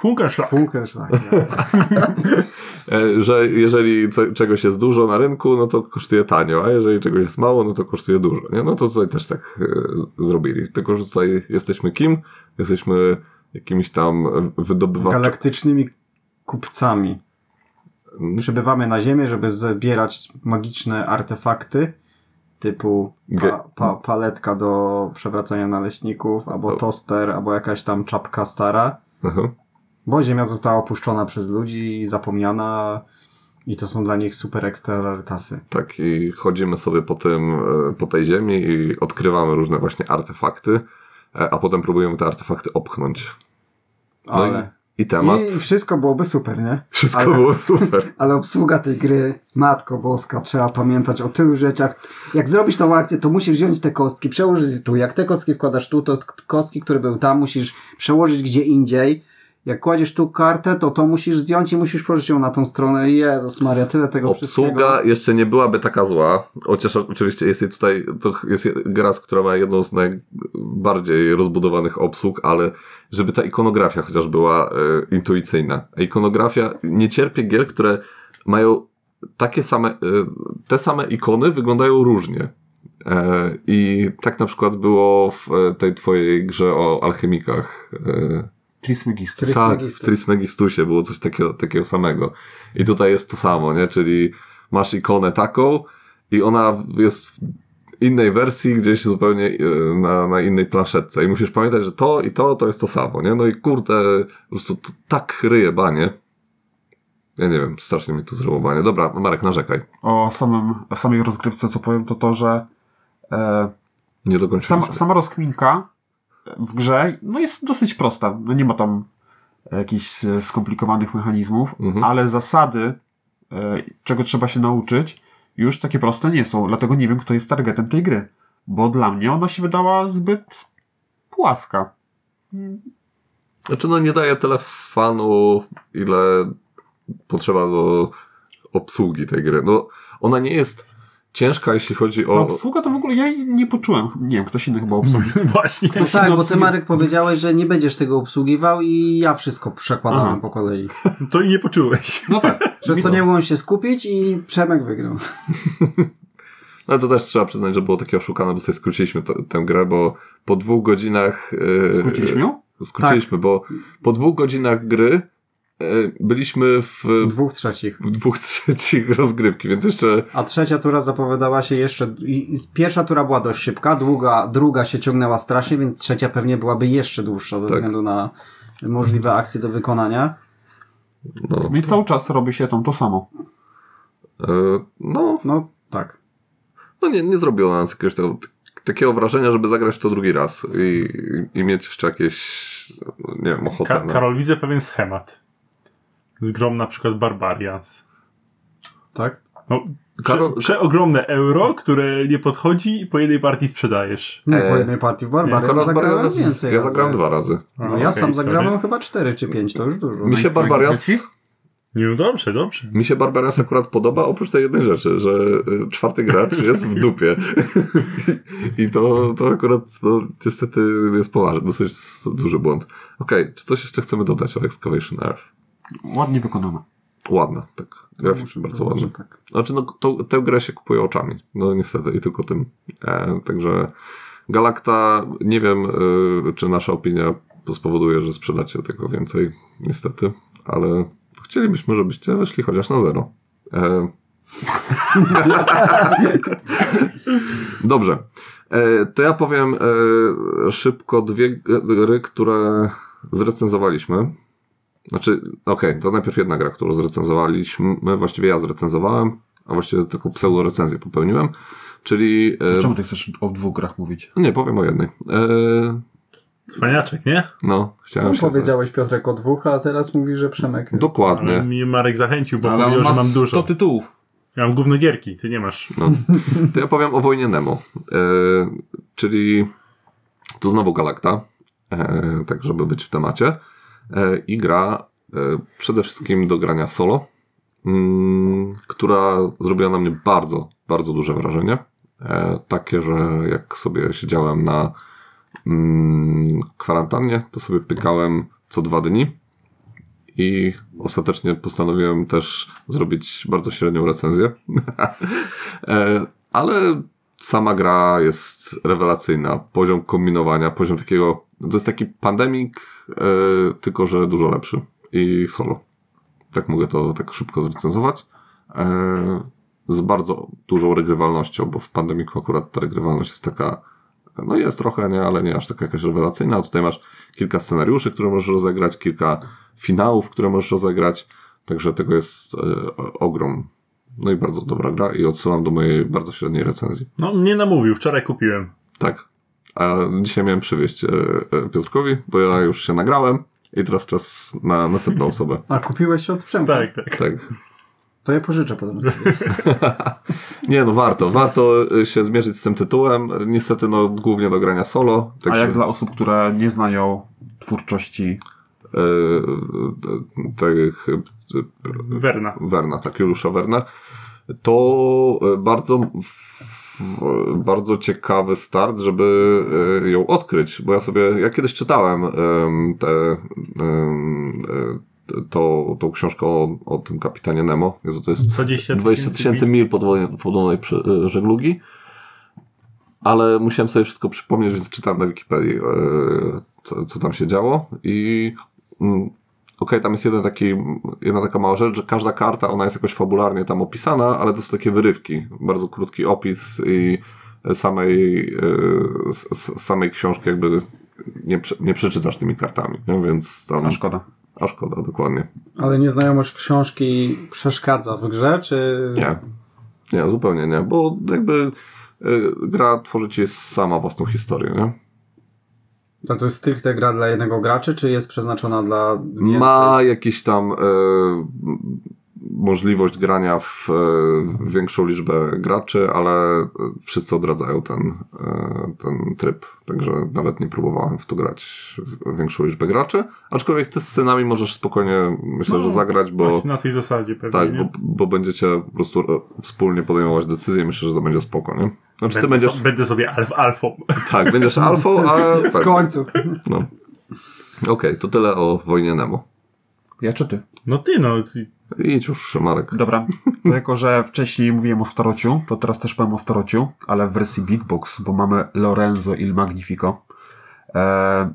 Funkenschlag. Funkenschlag. E, Że jeżeli ce- czegoś jest dużo na rynku, no to kosztuje tanio, a jeżeli czegoś jest mało, no to kosztuje dużo. Nie? No to tutaj też tak e, z- zrobili. Tylko, że tutaj jesteśmy kim? Jesteśmy jakimiś tam wydobywaczami. Galaktycznymi kupcami. Mm. Przybywamy na Ziemię, żeby zbierać magiczne artefakty typu pa, Ge- pa, paletka do przewracania naleśników, albo O. toster, albo jakaś tam czapka stara. Bo Ziemia została opuszczona przez ludzi i zapomniana i to są dla nich super ekstra rarytasy. Tak, i chodzimy sobie po, tym, e, po tej ziemi i odkrywamy różne właśnie artefakty, e, a potem próbujemy te artefakty opchnąć. No Ale... i, i temat. I wszystko byłoby super, nie? Wszystko ale- było super. Ale obsługa tej gry, matko boska, trzeba pamiętać o tylu rzeczach. Jak zrobisz tą akcję, to musisz wziąć te kostki, przełożyć je tu. Jak te kostki wkładasz tu, to k- kostki, które były tam, musisz przełożyć gdzie indziej. Jak kładziesz tu kartę, to to musisz zdjąć i musisz przełożyć ją na tą stronę. Jezus Maria, tyle tego Obsługa wszystkiego. jeszcze nie byłaby taka zła, chociaż oczywiście jest jej tutaj, to jest gra, z- która ma jedną z najbardziej rozbudowanych obsług, ale żeby ta ikonografia chociaż była e, intuicyjna. A ikonografia nie cierpie gier, które mają takie same, e, te same ikony wyglądają różnie. E, I tak na przykład było w e, tej twojej grze o alchemikach. e, Trismegistus. tak, w Trismegistusie było coś takiego, takiego samego. I tutaj jest to samo, nie? Czyli masz ikonę taką i ona jest w innej wersji, gdzieś zupełnie e, na, na innej planszetce. I musisz pamiętać, że to i to, to jest to samo, nie? No i kurde, po prostu to tak ryje banie. Ja nie wiem, strasznie mi to zrobiło banie. Dobra, Marek, narzekaj. O, samym, o samej rozgrywce, co powiem, to to, że E, Nie dokończyliśmy. sama, sama rozkminka w grze no jest dosyć prosta. No nie ma tam jakichś e, skomplikowanych mechanizmów, Mhm. ale zasady, e, czego trzeba się nauczyć, już takie proste nie są. Dlatego nie wiem, kto jest targetem tej gry. Bo dla mnie ona się wydała zbyt płaska. Znaczy, no nie daje tyle fanu, ile potrzeba do obsługi tej gry. No, ona nie jest ciężka, jeśli chodzi Ta o... obsługa to w ogóle ja jej nie poczułem. Nie wiem, ktoś inny chyba obsługi. Właśnie. No się tak, bo ty obsługuje- Marek powiedziałeś, że nie będziesz tego obsługiwał i ja wszystko przekładałem Aha. po kolei. To i nie poczułeś. No tak. Przez co nie mogłem się skupić i Przemek wygrał. No to też trzeba przyznać, że było takie oszukane, bo sobie skróciliśmy to, tę grę, bo po dwóch godzinach... Yy, Skróciliśmy Tak. ją? Skróciliśmy, bo po dwóch godzinach gry yy, byliśmy w, Dwóch trzecich. w dwóch trzecich rozgrywki, więc jeszcze... A trzecia tura zapowiadała się jeszcze. i- i Pierwsza tura była dość szybka, druga, druga się ciągnęła strasznie, więc trzecia pewnie byłaby jeszcze dłuższa ze Tak. względu na możliwe akcje do wykonania. No, No i cały czas robi się tam to samo. yy, no, No tak. no nie, nie zrobiło na nas jakiegoś tego, takiego wrażenia, żeby zagrać w to drugi raz i, i mieć jeszcze jakieś, no nie wiem, ochotę. Ka- na- Karol, widzę pewien schemat. Z grom na przykład Barbarians. Tak? No, Karol- prze, przeogromne euro, które nie podchodzi i po jednej partii sprzedajesz. Nie, po E, jednej partii w nie, Barbarian Karol zagrałem Barbaros- więcej Ja razy. zagrałem dwa razy. A, No ja okej, sam sorry. zagrałem chyba cztery czy pięć, to już dużo. Mi się, co, Barbarias, dziękuję No dobrze, dobrze. mi się Barbarias akurat podoba, oprócz tej jednej rzeczy, że y, czwarty gracz jest w dupie. I to, to akurat no, niestety jest poważny, dosyć s- duży błąd. Okej, czy coś jeszcze chcemy dodać o Excavation Earth? Ładnie wykonana. Ładne, tak. No, Graficznie bardzo ładne. Może tak. Znaczy, no, to, tę grę się kupuje oczami. No niestety, i tylko tym. E, także Galakta, nie wiem, y, czy nasza opinia spowoduje, że sprzedacie tego więcej, niestety, ale chcielibyśmy, żebyście weszli chociaż na zero. E, Dobrze. E, to ja powiem e, szybko dwie gry, które zrecenzowaliśmy. Znaczy, okej, to najpierw jedna gra, którą zrecenzowaliśmy, właściwie ja zrecenzowałem, a właściwie taką pseudo-recenzję popełniłem, czyli... E, Czemu ty chcesz o dwóch grach mówić? nie, powiem o jednej. E, Cwaniaczek, nie? no, chciałem Sam się... powiedziałeś Piotrek o dwóch, a teraz mówi, że Przemek. Ale Dokładnie. mnie Marek zachęcił, bo Ale mówił, on że ma mam 100 dużo. tytułów. Ja mam gówno gierki, ty nie masz. To ja powiem o wojnie Nemo. E, czyli tu znowu Galakta, e, tak żeby być w temacie. E, I gra e, przede wszystkim do grania solo, mm, która zrobiła na mnie bardzo, bardzo duże wrażenie. E, takie, że jak sobie siedziałem na mm, kwarantannie, to sobie pykałem co dwa dni. I ostatecznie postanowiłem też zrobić bardzo średnią recenzję. E, ale sama gra jest rewelacyjna. Poziom kombinowania, poziom takiego. To jest taki pandemik, e, tylko że dużo lepszy. I solo. Tak mogę to tak szybko zrecenzować. E, z bardzo dużą regrywalnością, bo w pandemiku akurat ta regrywalność jest taka. No jest trochę, nie, ale nie aż taka jakaś rewelacyjna. A Tutaj masz kilka scenariuszy, które możesz rozegrać, kilka finałów, które możesz rozegrać. Także tego jest e, o- ogrom. No i bardzo dobra gra i odsyłam do mojej bardzo średniej recenzji. No, mnie namówił, wczoraj kupiłem. Tak. A dzisiaj miałem przywieźć e, e, Piotrkowi, bo ja już się nagrałem i teraz czas na następną osobę. A kupiłeś się od Przemka? Tak, tak. Tak. To ja pożyczę potem. Nie no, warto. Warto e, się zmierzyć z tym tytułem. Niestety no głównie do grania solo. tak A Także, jak dla osób, które nie znają twórczości e, e, tych e, Werna. Werna, tak, Juliusza Werna, to e, bardzo, w- w- bardzo ciekawy start, żeby e, ją odkryć, bo ja sobie, ja kiedyś czytałem em, te, em, e, to, tą książkę o, o tym kapitanie Nemo, Jezu, to jest 20 20 tysięcy mil podwodnej, podwodnej przy- e, żeglugi, ale musiałem sobie wszystko przypomnieć, więc czytałem na Wikipedii, e, co, co tam się działo i mm, okej, tam jest jeden taki, jedna taka mała rzecz, że każda karta, ona jest jakoś fabularnie tam opisana, ale to są takie wyrywki, bardzo krótki opis i samej, e, s- s- samej książki jakby nie, prze, nie przeczytasz tymi kartami, nie? więc tam... A szkoda. a szkoda, dokładnie. Ale nieznajomość książki przeszkadza w grze, czy... Nie. Nie, zupełnie nie, bo jakby y, gra tworzy ci sama własną historię, nie? A No to jest stricte gra dla jednego graczy, czy jest przeznaczona dla więcej? Ma jakiś tam e, możliwość grania w, e, w większą liczbę graczy, ale e, wszyscy odradzają ten, e, ten tryb. Także nawet nie próbowałem w to grać w większą liczbę graczy. Aczkolwiek ty z synami możesz spokojnie, myślę, No, że zagrać, bo, Właśnie na tej zasadzie pewnie, tak, nie? bo, bo będziecie po prostu e, wspólnie podejmować decyzje. Myślę, że to będzie spoko, nie? Znaczy ty będę, będziesz, so, będę sobie alf, alfą. tak, będziesz alfą, a W tak, no. końcu. Okej, to tyle o wojnie Nemo. Ja czy ty? No ty, no. Ty, Idź już, Marek. Dobra, to jako, że wcześniej mówiłem o starociu, to teraz też powiem o starociu, ale w wersji Big Box, bo mamy Lorenzo il Magnifico. E,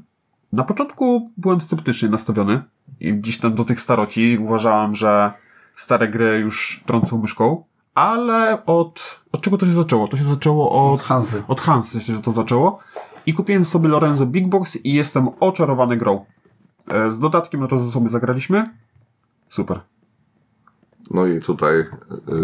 na początku byłem sceptycznie nastawiony i gdzieś tam do tych staroci uważałem, że stare gry już trącą myszką, ale od, od czego to się zaczęło? To się zaczęło od Hansy. od Hansa się to zaczęło. I kupiłem sobie Lorenzo Big Box i jestem oczarowany grą. E, Z dodatkiem na to ze sobie zagraliśmy. Super. No i tutaj y,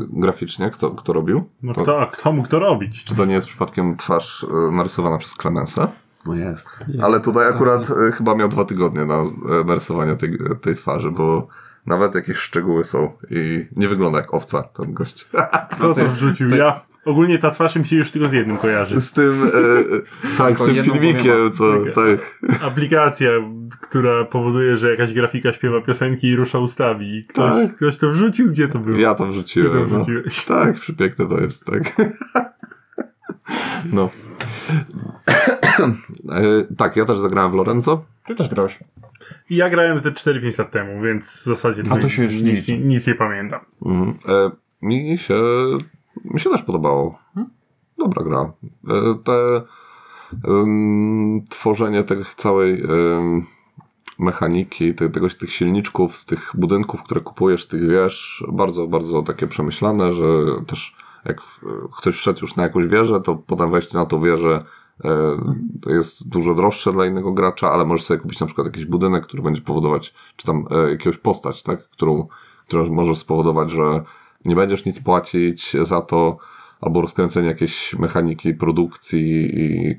graficznie, kto, kto robił? no To- kto, a kto mógł to robić? Czy to nie jest przypadkiem twarz y, narysowana przez Clemensa? No jest. tak, Ale tutaj akurat y, chyba miał dwa tygodnie na y, narysowanie tej, tej twarzy, bo nawet jakieś szczegóły są i nie wygląda jak owca ten gość. Tak, Kto No to, to jest- wrzucił? to- Ja. Ogólnie ta twarz mi się już tylko z jednym kojarzy. Z tym, y, y, tak, z Tylko tym jedną filmikiem, powiem, co tak. tak. Aplikacja, która powoduje, że jakaś grafika śpiewa piosenki i rusza ustami. I Ktoś, Tak. ktoś to wrzucił? Gdzie to było? Ja to Ty to wrzuciłem. no. wrzuciłeś. Tak, przepiękne to jest, tak. No. E, tak, ja też zagrałem w Lorenzo. Ty też grałeś. I Ja grałem ze 4-5 lat temu, więc w zasadzie A to się już nie nic, liczy. nic nie pamiętam. Mhm. E, mi się. Mi się też podobało. Hmm? Dobra gra. E, te. em, tworzenie tej całej. em, mechaniki, te, tego, tych silniczków, z tych budynków, które kupujesz, tych wież, bardzo, bardzo takie przemyślane, że też jak e, ktoś wszedł już na jakąś wieżę, to potem wejście na tą wieżę e, to jest dużo droższe dla innego gracza, ale możesz sobie kupić na przykład jakiś budynek, który będzie powodować, czy tam e, jakąś postać, tak, którą, która może spowodować, że nie będziesz nic płacić za to, albo rozkręcenie jakiejś mechaniki produkcji i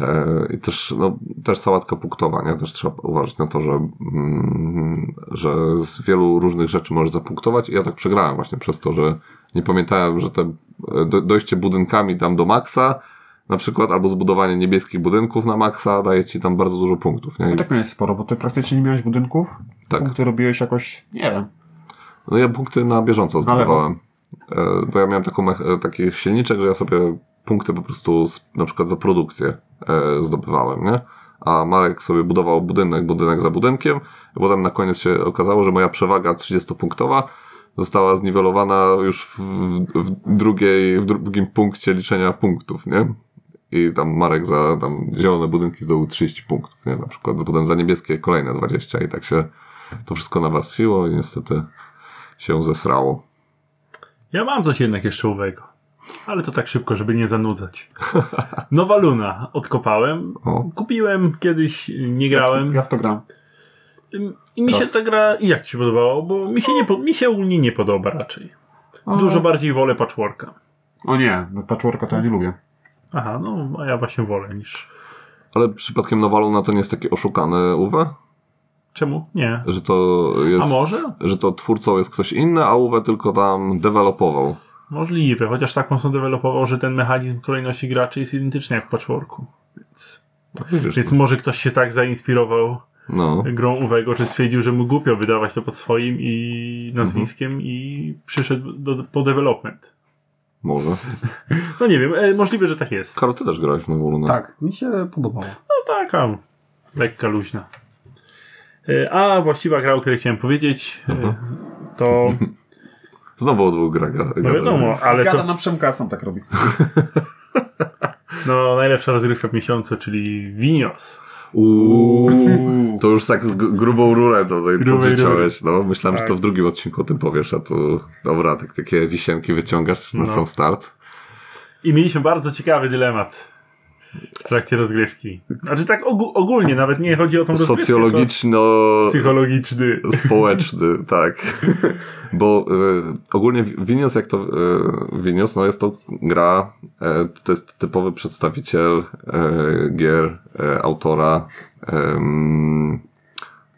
E, I też, no, też sałatka punktowa, nie? Też trzeba uważać na to, że, mm, że z wielu różnych rzeczy możesz zapunktować. I ja tak przegrałem właśnie przez to, że nie pamiętałem, że te e, do, dojście budynkami tam do maksa, na przykład, albo zbudowanie niebieskich budynków na maksa daje ci tam bardzo dużo punktów, nie? No I, tak miałeś sporo, bo ty praktycznie nie miałeś budynków. tak. Punkty robiłeś jakoś, nie wiem. No ja punkty na bieżąco Na lewo. zdobywałem. E, Bo ja miałem taką mech- e, taki silniczek, że ja sobie punkty po prostu z, na przykład za produkcję e, zdobywałem, nie? A Marek sobie budował budynek, budynek za budynkiem. I potem na koniec się okazało, że moja przewaga 30-punktowa została zniwelowana już w, w, drugiej, w drugim punkcie liczenia punktów, nie? I tam Marek za tam zielone budynki zdobył 30 punktów, nie? Na przykład. Potem za niebieskie kolejne 20 i tak się to wszystko nawarstwiło i niestety się zesrało. Ja mam coś jednak jeszcze owego. Ale to tak szybko, żeby nie zanudzać. Nowa Luna odkopałem. O. Kupiłem kiedyś, nie grałem. Ja w to gram. I mi się Raz. ta gra i jak ci się podobało, bo mi się, nie, po- mi się ogólnie nie podoba raczej. Dużo bardziej wolę patchworka. O nie, no patchworka to ja nie lubię. Aha, no a ja właśnie wolę niż. Ale przypadkiem Nowaluna to nie jest taki oszukany Uwe? Czemu? Nie. Że to jest... A może? Że to twórcą jest ktoś inny, a Uwe tylko tam dewelopował. Możliwe, chociaż tak mocno dewelopował, że ten mechanizm kolejności graczy jest identyczny jak w patchworku. Więc, Tak widzisz. więc może ktoś się tak zainspirował No. grą Uwego, czy stwierdził, że mu głupio wydawać to pod swoim i Mhm. nazwiskiem i przyszedł do, po development. Może. No nie wiem, e, możliwe, że tak jest. Karol, ty też grałeś w Nowalunę. Tak, mi się podobało. No taka lekka, luźna. E, A właściwa gra, o której chciałem powiedzieć, e, Mhm. to Znowu o dwóch gra. gra, no wiadomo, ale Gada to na Przemka, a sam tak robi. no, najlepsza rozgrywka w miesiącu, czyli Vinios. Uuu, to już tak z gr- grubą rurę to tutaj Grubej podwyciąłeś. No. Myślałem, Tak. że to w drugim odcinku o tym powiesz, a tu dobra, tak, takie wisienki wyciągasz na No. sam start. I mieliśmy bardzo ciekawy dylemat. w trakcie rozgrywki. Znaczy tak ogó- ogólnie, nawet nie chodzi o tą rozgrywkę. co Socjologiczno... Psychologiczny. społeczny, tak. Bo y, ogólnie Winios, jak to y, Winios, no jest to gra, e, to jest typowy przedstawiciel e, gier e, autora, em,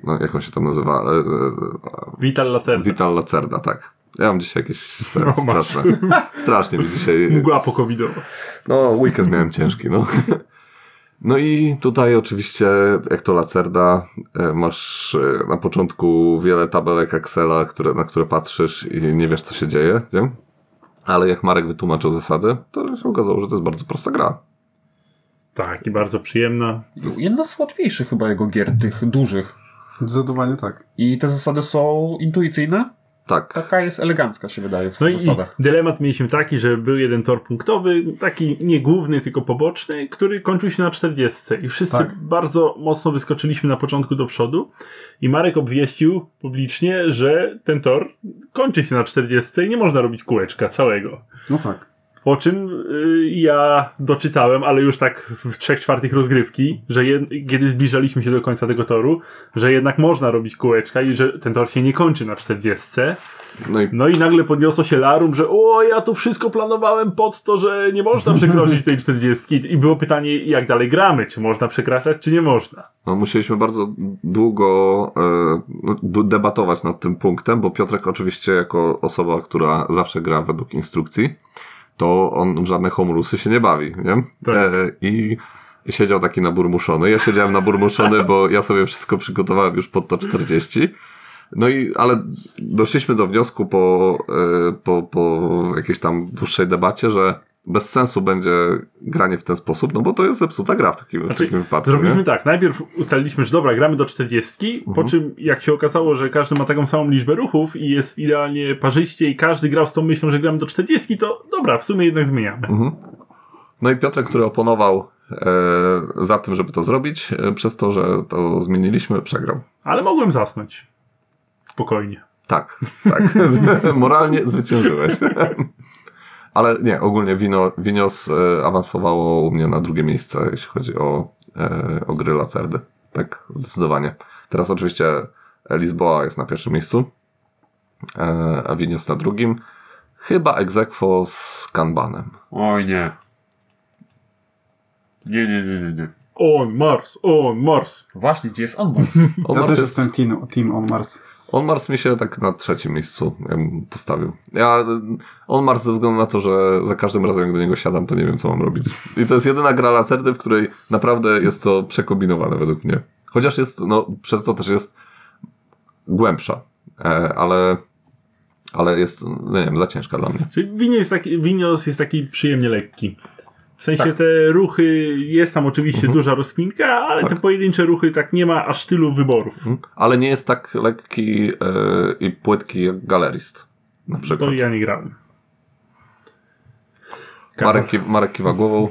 no jak on się tam nazywa, e, Vital e, Lacerda. Vital Lacerda, tak. Ja mam dzisiaj jakieś te, Masz. straszne, strasznie mi dzisiaj Mgła pokowidowa. no, weekend miałem ciężki, no. No i tutaj oczywiście, jak to Lacerda, e, masz e, na początku wiele tabelek Excela, które, na które patrzysz i nie wiesz, co się dzieje, nie? Ale jak Marek wytłumaczył zasady, to się okazało, że to jest bardzo prosta gra. Tak, i bardzo przyjemna. Jedna z łatwiejszych chyba jego gier, tych dużych. Zdecydowanie tak. I te zasady są intuicyjne. Tak. Taka jest elegancka, się wydaje, w No i zasadach. dylemat mieliśmy taki, że był jeden tor punktowy, taki nie główny, tylko poboczny, który kończył się na 40. I wszyscy Tak. bardzo mocno wyskoczyliśmy na początku do przodu. I Marek obwieścił publicznie, że ten tor kończy się na 40 i nie można robić kółeczka całego. No tak. Po czym y, ja doczytałem, ale już tak w trzech czwartych rozgrywki, że jed- kiedy zbliżaliśmy się do końca tego toru, że jednak można robić kółeczka i że ten tor się nie kończy na 40. No i No i nagle podniosło się larum, że o, ja tu wszystko planowałem pod to, że nie można przekroczyć tej 40. I było pytanie, jak dalej gramy, czy można przekraczać, czy nie można. no, musieliśmy bardzo długo e, d- debatować nad tym punktem, bo Piotrek oczywiście jako osoba, która zawsze gra według instrukcji, to on w żadne homerusy się nie bawi, nie? Tak. E, I siedział taki naburmuszony. Ja siedziałem naburmuszony, bo ja sobie wszystko przygotowałem już pod to 40. No i, ale doszliśmy do wniosku po, e, po, po jakiejś tam dłuższej debacie, że bez sensu będzie granie w ten sposób, no bo to jest zepsuta gra w takim, w Znaczy, takim wypadku. Zrobiliśmy nie? tak, najpierw ustaliliśmy, że dobra, gramy do 40, po czym jak się okazało, że każdy ma taką samą liczbę ruchów i jest idealnie parzyście i każdy grał z tą myślą, że gramy do 40, to dobra, w sumie jednak zmieniamy. No i Piotrek, który oponował e, za tym, żeby to zrobić, e, przez to, że to zmieniliśmy, przegrał. Ale mogłem zasnąć. Spokojnie. Tak, tak. Moralnie zwyciężyłeś. Ale nie, ogólnie wino, Winios e, awansowało u mnie na drugie miejsce, jeśli chodzi o, e, o gry Lacerdy. Tak, zdecydowanie. Teraz oczywiście Lisboa jest na pierwszym miejscu, e, a Winios na drugim. Chyba egzekwo z Kanbanem. Oj nie. Nie, nie, nie, nie, nie. On Mars, on Mars. Właśnie, gdzie jest on? bo- On ja Mars też jest- jestem team, team on Mars. On Mars mi się tak na trzecim miejscu em, postawił. Ja On Mars ze względu na to, że za każdym razem jak do niego siadam, to nie wiem co mam robić. I to jest jedyna gra lacerdy, w której naprawdę jest to przekombinowane według mnie. Chociaż jest, no przez to też jest głębsza, e, ale, ale jest, no nie wiem, za ciężka dla mnie. Czyli Winios jest taki, Winios jest taki przyjemnie lekki. W sensie te ruchy, jest tam oczywiście duża rozpinka, ale te pojedyncze ruchy Mhm. tak nie ma aż tylu wyborów. Mm. Ale nie jest tak lekki e, i płytki jak galerist. Na przykład. To ja nie grałem. Marek, ki- Marek kiwa głową.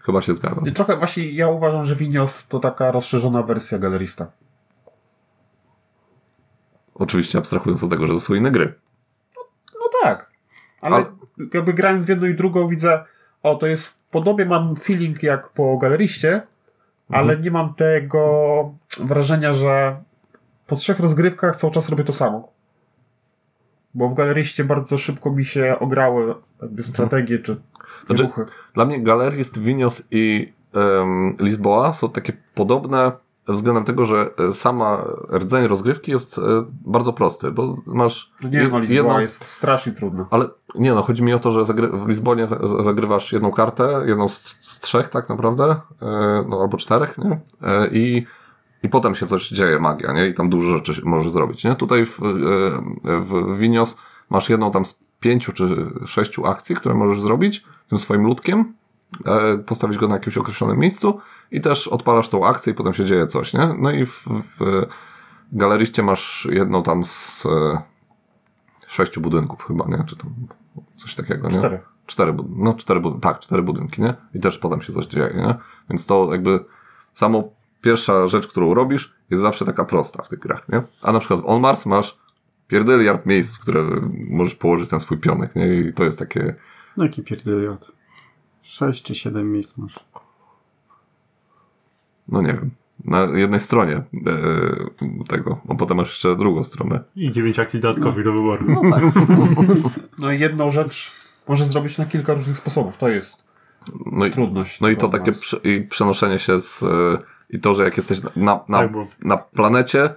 Chyba się zgadzam. I trochę właśnie ja uważam, że Winios to taka rozszerzona wersja galerista. Oczywiście abstrahując od tego, że to są inne gry. No tak. Ale Ale- jakby grając w jedną i drugą widzę, o to jest podobnie mam feeling jak po galeriście, Mhm. ale nie mam tego wrażenia, że po trzech rozgrywkach cały czas robię to samo. Bo w galeriście bardzo szybko mi się ograły jakby strategie czy Mhm. Znaczy- ruchy. Dla mnie Galerist, Winios i em, Lisboa są takie podobne względem tego, że e, sama rdzeń rozgrywki jest e, bardzo prosty, bo masz No nie je- wiem, Lisboa jedną- jest strasznie trudna. Ale nie no, chodzi mi o to, że zagry... w Lizbonie za- za- zagrywasz jedną kartę, jedną z, z trzech tak naprawdę, e, no albo czterech, nie? E, I, I potem się coś dzieje, magia, nie? I tam dużo rzeczy się możesz zrobić, nie? Tutaj w, e, w Winios masz jedną tam z pięciu czy sześciu akcji, które możesz zrobić tym swoim ludkiem, e, postawić go na jakimś określonym miejscu i też odpalasz tą akcję i potem się dzieje coś, nie? No i w, w galeryście masz jedną tam z... E, sześciu budynków chyba, nie? Czy tam coś takiego, nie? Cztery. Cztery, bud- no cztery, bud- tak, cztery budynki, nie? I też potem się coś dzieje, nie? Więc to jakby samo pierwsza rzecz, którą robisz, jest zawsze taka prosta w tych grach, nie? A na przykład w On Mars masz pierdyliard miejsc, w które możesz położyć ten swój pionek, nie? I to jest takie No jaki pierdyliot. 6 czy 7 miejsc masz. No nie wiem. Na jednej stronie e, tego, bo potem masz jeszcze drugą stronę. I dziewięć akcji dodatkowych do wyboru. No i jedną rzecz możesz zrobić na kilka różnych sposobów. To jest No i, trudność. no i to tego takie nas. prze, i przenoszenie się z. E, I to, że jak jesteś na, na, na, Tak, bo- na planecie,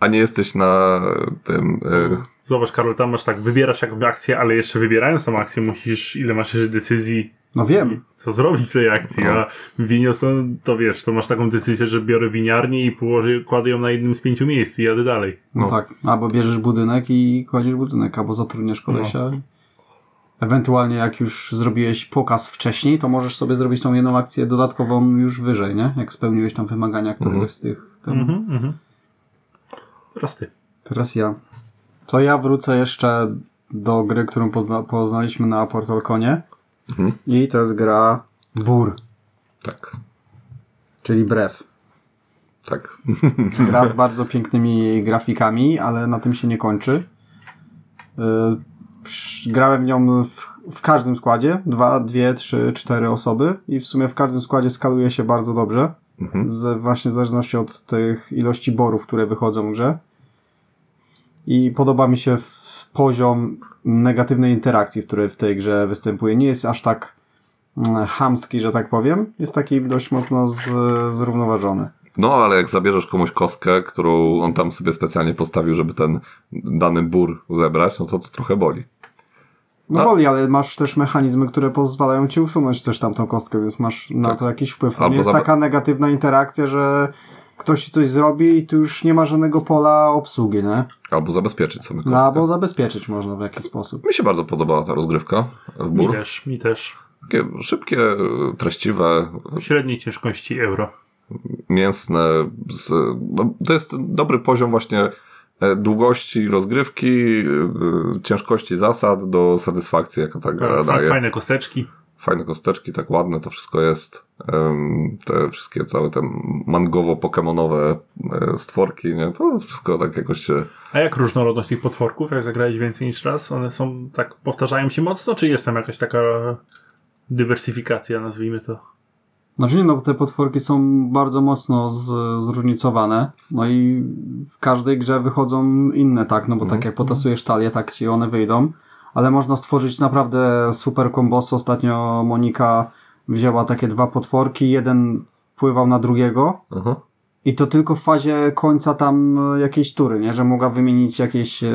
a nie jesteś na tym. E, Zobacz, Karol, tam masz tak, wybierasz jakby akcję, ale jeszcze wybierając tą akcję musisz, ile masz jeszcze decyzji, No wiem. co zrobić w tej akcji, No. a winios, no, to wiesz, to masz taką decyzję, że biorę winiarnię i położę, kładę ją na jednym z pięciu miejsc i jadę dalej. No, No. tak. Albo bierzesz budynek i kładziesz budynek, albo zatrudniasz kolesia. Ewentualnie jak już zrobiłeś pokaz wcześniej, to możesz sobie zrobić tą jedną akcję dodatkową już wyżej, nie? Jak spełniłeś tam wymagania któregoś z tych. Tam. Mhm, mhm. Teraz ty. Teraz ja. To ja wrócę jeszcze do gry, którą pozna poznaliśmy na Portalconie. Mhm. I to jest gra Bur, tak, czyli Brew. tak. Gra z bardzo pięknymi grafikami, ale na tym się nie kończy. Yy, psz- Grałem w nią w, w każdym składzie. Dwa, dwie, trzy, cztery osoby. I w sumie w każdym składzie skaluje się bardzo dobrze. Mhm. Ze, właśnie w zależności od tych ilości borów, które wychodzą w grze. I podoba mi się w poziom negatywnej interakcji, który w tej grze występuje. Nie jest aż tak mm, chamski, że tak powiem. Jest taki dość mocno z, zrównoważony. No, ale jak zabierzesz komuś kostkę, którą on tam sobie specjalnie postawił, żeby ten dany bór zebrać, no to to trochę boli. No A- boli, ale masz też mechanizmy, które pozwalają ci usunąć też tamtą kostkę, więc masz na Tak. to jakiś wpływ. To Albo nie jest zaba- taka negatywna interakcja, że ktoś ci coś zrobi i tu już nie ma żadnego pola obsługi, nie? Albo zabezpieczyć sobie kostkę. No, albo zabezpieczyć można w jakiś sposób. Mi się bardzo podobała ta rozgrywka w Mi bór. też, mi też. Takie szybkie, e, treściwe, Średniej ciężkości euro. mięsne. Z, no, to jest dobry poziom właśnie e, długości rozgrywki, e, ciężkości zasad do satysfakcji, jaka ta gra Fa- daje. Tak, Fajne kosteczki. Fajne kosteczki, tak ładne to wszystko jest. Em, Te wszystkie całe te mangowo-pokemonowe e, stworki, nie? To wszystko tak jakoś się... A jak różnorodność tych potworków, jak zagrałeś więcej niż raz? One są tak, powtarzają się mocno, czy jest tam jakaś taka dywersyfikacja, nazwijmy to? Znaczy nie, no bo te potworki są bardzo mocno z, zróżnicowane, no i w każdej grze wychodzą inne, tak, no bo tak jak potasujesz talię, tak ci one wyjdą, ale można stworzyć naprawdę super kombos. Ostatnio Monika wzięła takie dwa potworki, jeden wpływał na drugiego Aha. i to tylko w fazie końca tam e, jakiejś tury, nie, że mogła wymienić jakieś e,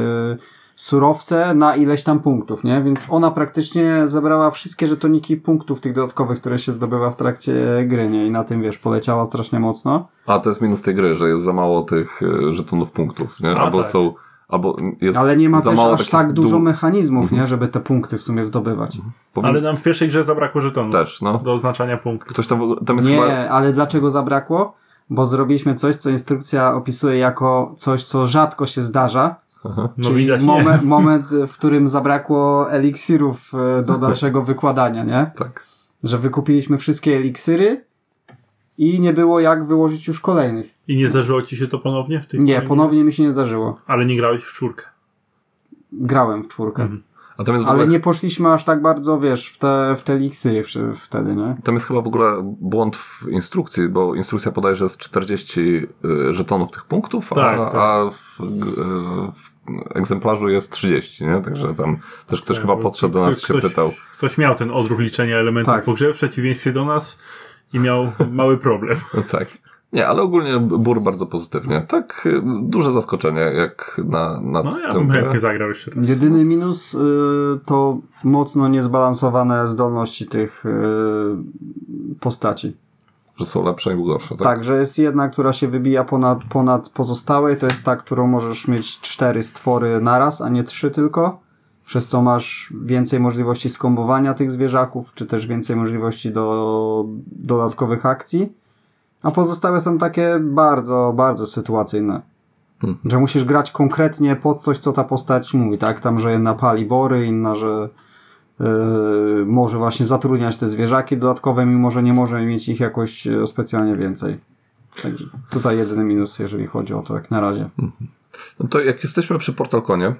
surowce na ileś tam punktów, nie, więc ona praktycznie zebrała wszystkie żetoniki punktów tych dodatkowych, które się zdobywa w trakcie gry, nie, i na tym, wiesz, poleciała strasznie mocno. A to jest minus tej gry, że jest za mało tych e, żetonów punktów, nie? A, Albo tak. są... Albo jest Ale nie ma za też mało aż takich Mhm. tak dużo dłu- mechanizmów, nie, żeby te punkty w sumie zdobywać. powin- Ale nam w pierwszej grze zabrakło żetonów Też, no. do oznaczania punktów. Ktoś tam, w ogóle- tam jest nie, chyba... ale dlaczego zabrakło? Bo zrobiliśmy coś, co instrukcja opisuje jako coś, co rzadko się zdarza, No czyli widać, momen- moment, w którym zabrakło eliksirów e, do dalszego wykładania, nie? Tak. Że wykupiliśmy wszystkie eliksiry i nie było jak wyłożyć już kolejnych. nie. I nie zdarzyło ci się to ponownie w tej Nie, kolejnej- ponownie mi się nie zdarzyło. Ale nie grałeś w czwórkę. Grałem w czwórkę. Mhm. A tam jest, w ogóle, Ale nie poszliśmy aż tak bardzo, wiesz, w te, w te eliksiry wsz- wtedy, nie? tam jest chyba w ogóle błąd w instrukcji, bo instrukcja podaje, że jest 40 y, żetonów tych punktów, Tak, a, tak. a w, y, w egzemplarzu jest 30, nie? Także tam też ktoś Tak, chyba bo podszedł do k- nas i k- się ktoś- pytał. Ktoś miał ten odruch liczenia elementów Tak. po grze w przeciwieństwie do nas i miał mały problem. Tak. Nie, ale ogólnie bur bardzo pozytywnie. Tak, y, duże zaskoczenie jak na, na No ja tę bym grę. chętnie zagrał jeszcze raz. Jedyny minus y, to mocno niezbalansowane zdolności tych y, postaci. Że są lepsze i gorsze, tak? Tak, że jest jedna, która się wybija ponad, ponad pozostałe i to jest ta, którą możesz mieć cztery stwory naraz, a nie trzy tylko, przez co masz więcej możliwości skombowania tych zwierzaków, czy też więcej możliwości do dodatkowych akcji. A pozostałe są takie bardzo, bardzo sytuacyjne. Mhm. Że musisz grać konkretnie pod coś, co ta postać mówi, tak? Tam, że jedna pali bory, inna, że yy, może właśnie zatrudniać te zwierzaki dodatkowe, mimo że nie może mieć ich jakoś yy, specjalnie więcej. Także tutaj jedyny minus, jeżeli chodzi o to, jak na razie. No to jak jesteśmy przy Portalkonie,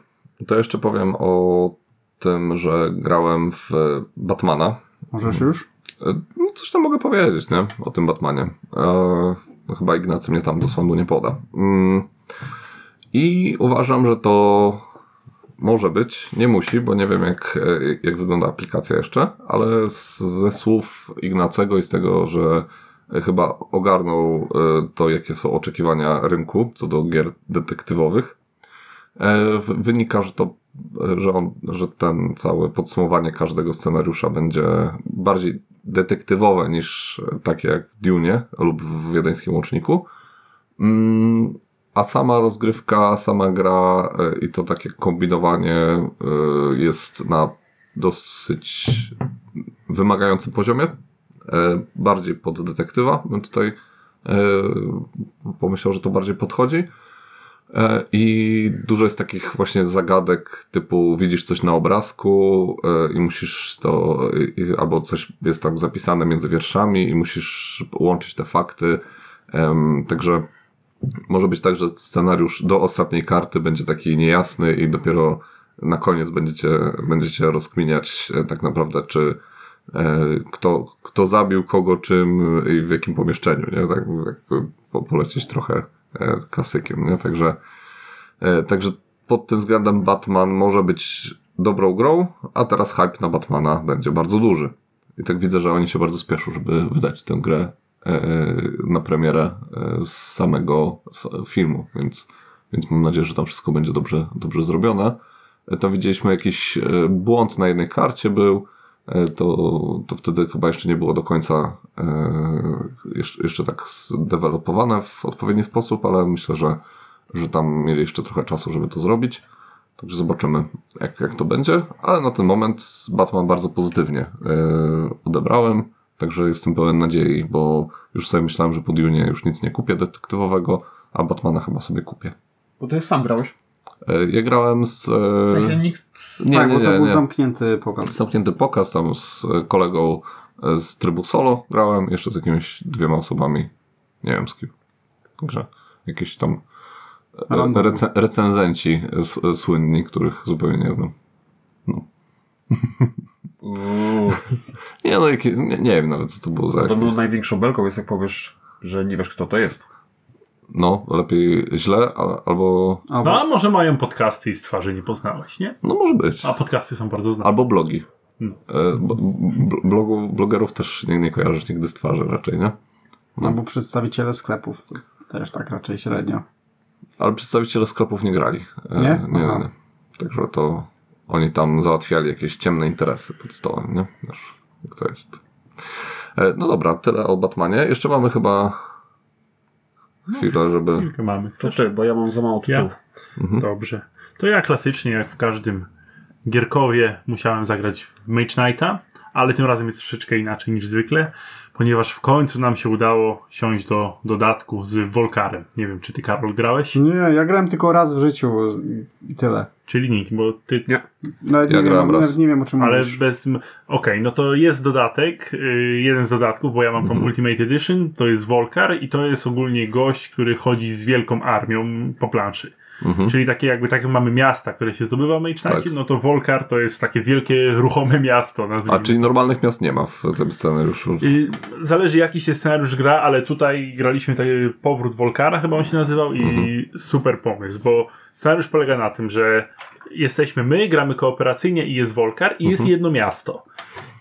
to jeszcze powiem o tym, że grałem w Batmana. Możesz już? E, No, coś tam mogę powiedzieć, nie? O tym Batmanie. E, no, chyba Ignacy mnie tam do sądu nie poda. Mm. I uważam, że to może być, nie musi, bo nie wiem jak, e, jak wygląda aplikacja jeszcze, ale z, ze słów Ignacego i z tego, że chyba ogarnął e, to, jakie są oczekiwania rynku co do gier detektywowych, E, w- Wynika, że to, e, że, on, że ten całe podsumowanie każdego scenariusza będzie bardziej detektywowe niż e, takie jak w Dune lub w Wiedeńskim Łączniku. Mm, A sama rozgrywka, sama gra e, i to takie kombinowanie e, jest na dosyć wymagającym poziomie. E, Bardziej pod detektywa bym tutaj e, pomyślał, że to bardziej podchodzi. E, I dużo jest takich właśnie zagadek, typu widzisz coś na obrazku e, i musisz to, i- i- albo coś jest tam zapisane między wierszami i musisz łączyć te fakty. Em, Także może być tak, że scenariusz do ostatniej karty będzie taki niejasny i dopiero na koniec będziecie, będziecie rozkminiać e, tak naprawdę, czy e, kto, kto zabił kogo, czym i w jakim pomieszczeniu, nie? Tak jakby po- polecieć trochę e, klasykiem, nie? Także, e, także pod tym względem Batman może być dobrą grą, a teraz hype na Batmana będzie bardzo duży. I tak widzę, że oni się bardzo spieszą, żeby wydać tę grę e, na premierę e, z samego s- filmu, więc, więc mam nadzieję, że tam wszystko będzie dobrze, dobrze zrobione. E, Tam widzieliśmy jakiś e, błąd na jednej karcie był, e, to, to wtedy chyba jeszcze nie było do końca e, jeszcze, jeszcze tak zdevelopowane w odpowiedni sposób, ale myślę, że, że tam mieli jeszcze trochę czasu, żeby to zrobić. Także zobaczymy, jak, jak to będzie. Ale na ten moment Batman bardzo pozytywnie e, odebrałem. Także jestem pełen nadziei, bo już sobie myślałem, że po Dune już nic nie kupię detektywowego, a Batmana chyba sobie kupię. Bo to jest sam grałeś. E, ja grałem z. e, W sensie nikt... nie, tak, nie, bo to nie, był nie. zamknięty pokaz. zamknięty pokaz tam z e, kolegą e, z trybu solo grałem, jeszcze z jakimiś dwiema osobami, nie wiem z kim. Także jakieś tam e, Random. rece- recenzenci e, s- e, słynni, których zupełnie nie znam. No. nie no, jakie- nie, nie wiem nawet co to było za Podobno jakieś. największą belką jest jak powiesz, że nie wiesz kto to jest. No, lepiej źle, a, albo... A, No a może mają podcasty i z twarzy nie poznałeś, nie? No może być. A podcasty są bardzo znane. Albo blogi. Hmm. E, bo- b- Blogu, blogerów też nie, nie kojarzysz nigdy z twarzy raczej, nie? no. Albo No, przedstawiciele sklepów. Też tak raczej średnio. Ale przedstawiciele sklepów nie grali. E, Nie? Nie, Aha. nie. Także to oni tam załatwiali jakieś ciemne interesy pod stołem, nie? Wiesz, jak to jest. E, no dobra, tyle o Batmanie. Jeszcze mamy chyba chwilę, żeby... Kilka mamy. To ty, bo ja mam za mało Ja? tytułów. Dobrze. To ja klasycznie, jak w każdym gierkowie, musiałem zagrać w Mage Knighta, ale tym razem jest troszeczkę inaczej niż zwykle, ponieważ w końcu nam się udało siąść do dodatku z Volkarem. Nie wiem, czy ty, Karol, grałeś? Nie, ja grałem tylko raz w życiu i tyle. Czyli nikt, bo ty... Nie. Nawet Ja nie, wiem, grałem raz. nawet nie wiem o czym Ale mówisz. bez... Okej, no to jest dodatek, y, jeden z dodatków, bo ja mam tą Mhm. Ultimate Edition, to jest Volkar i to jest ogólnie gość, który chodzi z wielką armią po planszy. Mhm. Tak. Czyli takie jakby takie mamy miasta, które się zdobywa w Mage Knightie, no to Volkar to jest takie wielkie, ruchome miasto, A, nazwijmy. czyli normalnych miast nie ma w tym scenariuszu. Y, Zależy jaki się scenariusz gra, ale tutaj graliśmy taki powrót Volkara, chyba on się nazywał, i super pomysł, bo scenariusz polega na tym, że jesteśmy my, gramy kooperacyjnie i jest Volkar i jest jedno miasto.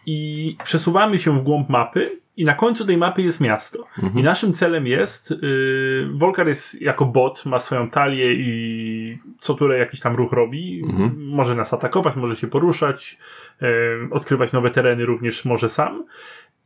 I przesuwamy się w głąb mapy i na końcu tej mapy jest miasto. I naszym celem jest, yy, Volkar jest jako bot, ma swoją talię i co turę jakiś tam ruch robi. Może nas atakować, może się poruszać, yy, odkrywać nowe tereny również może sam.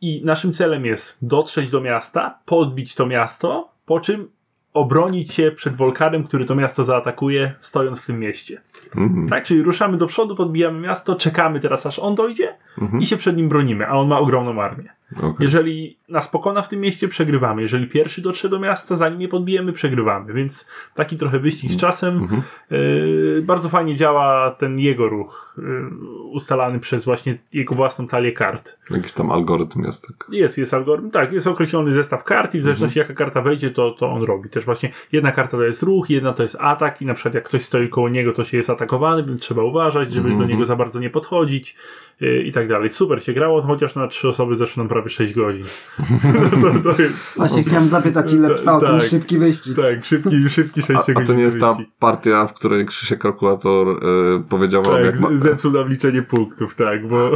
I naszym celem jest dotrzeć do miasta, podbić to miasto, po czym obronić się przed Wolkarem, który to miasto zaatakuje, stojąc w tym mieście. Mhm. Tak, czyli ruszamy do przodu, podbijamy miasto, czekamy teraz aż on dojdzie Mhm. i się przed nim bronimy, a on ma ogromną armię. Okej. Jeżeli nas pokona w tym mieście, przegrywamy. Jeżeli pierwszy dotrze do miasta, zanim je podbijemy, przegrywamy. Więc taki trochę wyścig z czasem. Mhm. Yy, bardzo fajnie działa ten jego ruch, yy, ustalany przez właśnie jego własną talię kart. Jakiś tam algorytm jest tak. Jest, jest algorytm. Tak, jest określony zestaw kart Mhm. i w zależności jaka karta wejdzie, to, to on robi. Też właśnie jedna karta to jest ruch, jedna to jest atak i na przykład jak Mhm. ktoś stoi koło niego, to się jest atakowany, więc trzeba uważać, żeby do niego za bardzo nie podchodzić yy, i tak tak dalej. Super się grało, chociaż na trzy osoby zeszło nam prawie 6 godzin. to, to jest... Właśnie chciałem zapytać, ile trwał ten Tak. szybki wyścig. Tak, szybki, szybki 6 A, godzin. a to nie jest ta partia, w której Krzysiek Kalkulator y, powiedział wam, Tak, jak ma, z- zepsuł nam liczenie punktów, tak, bo...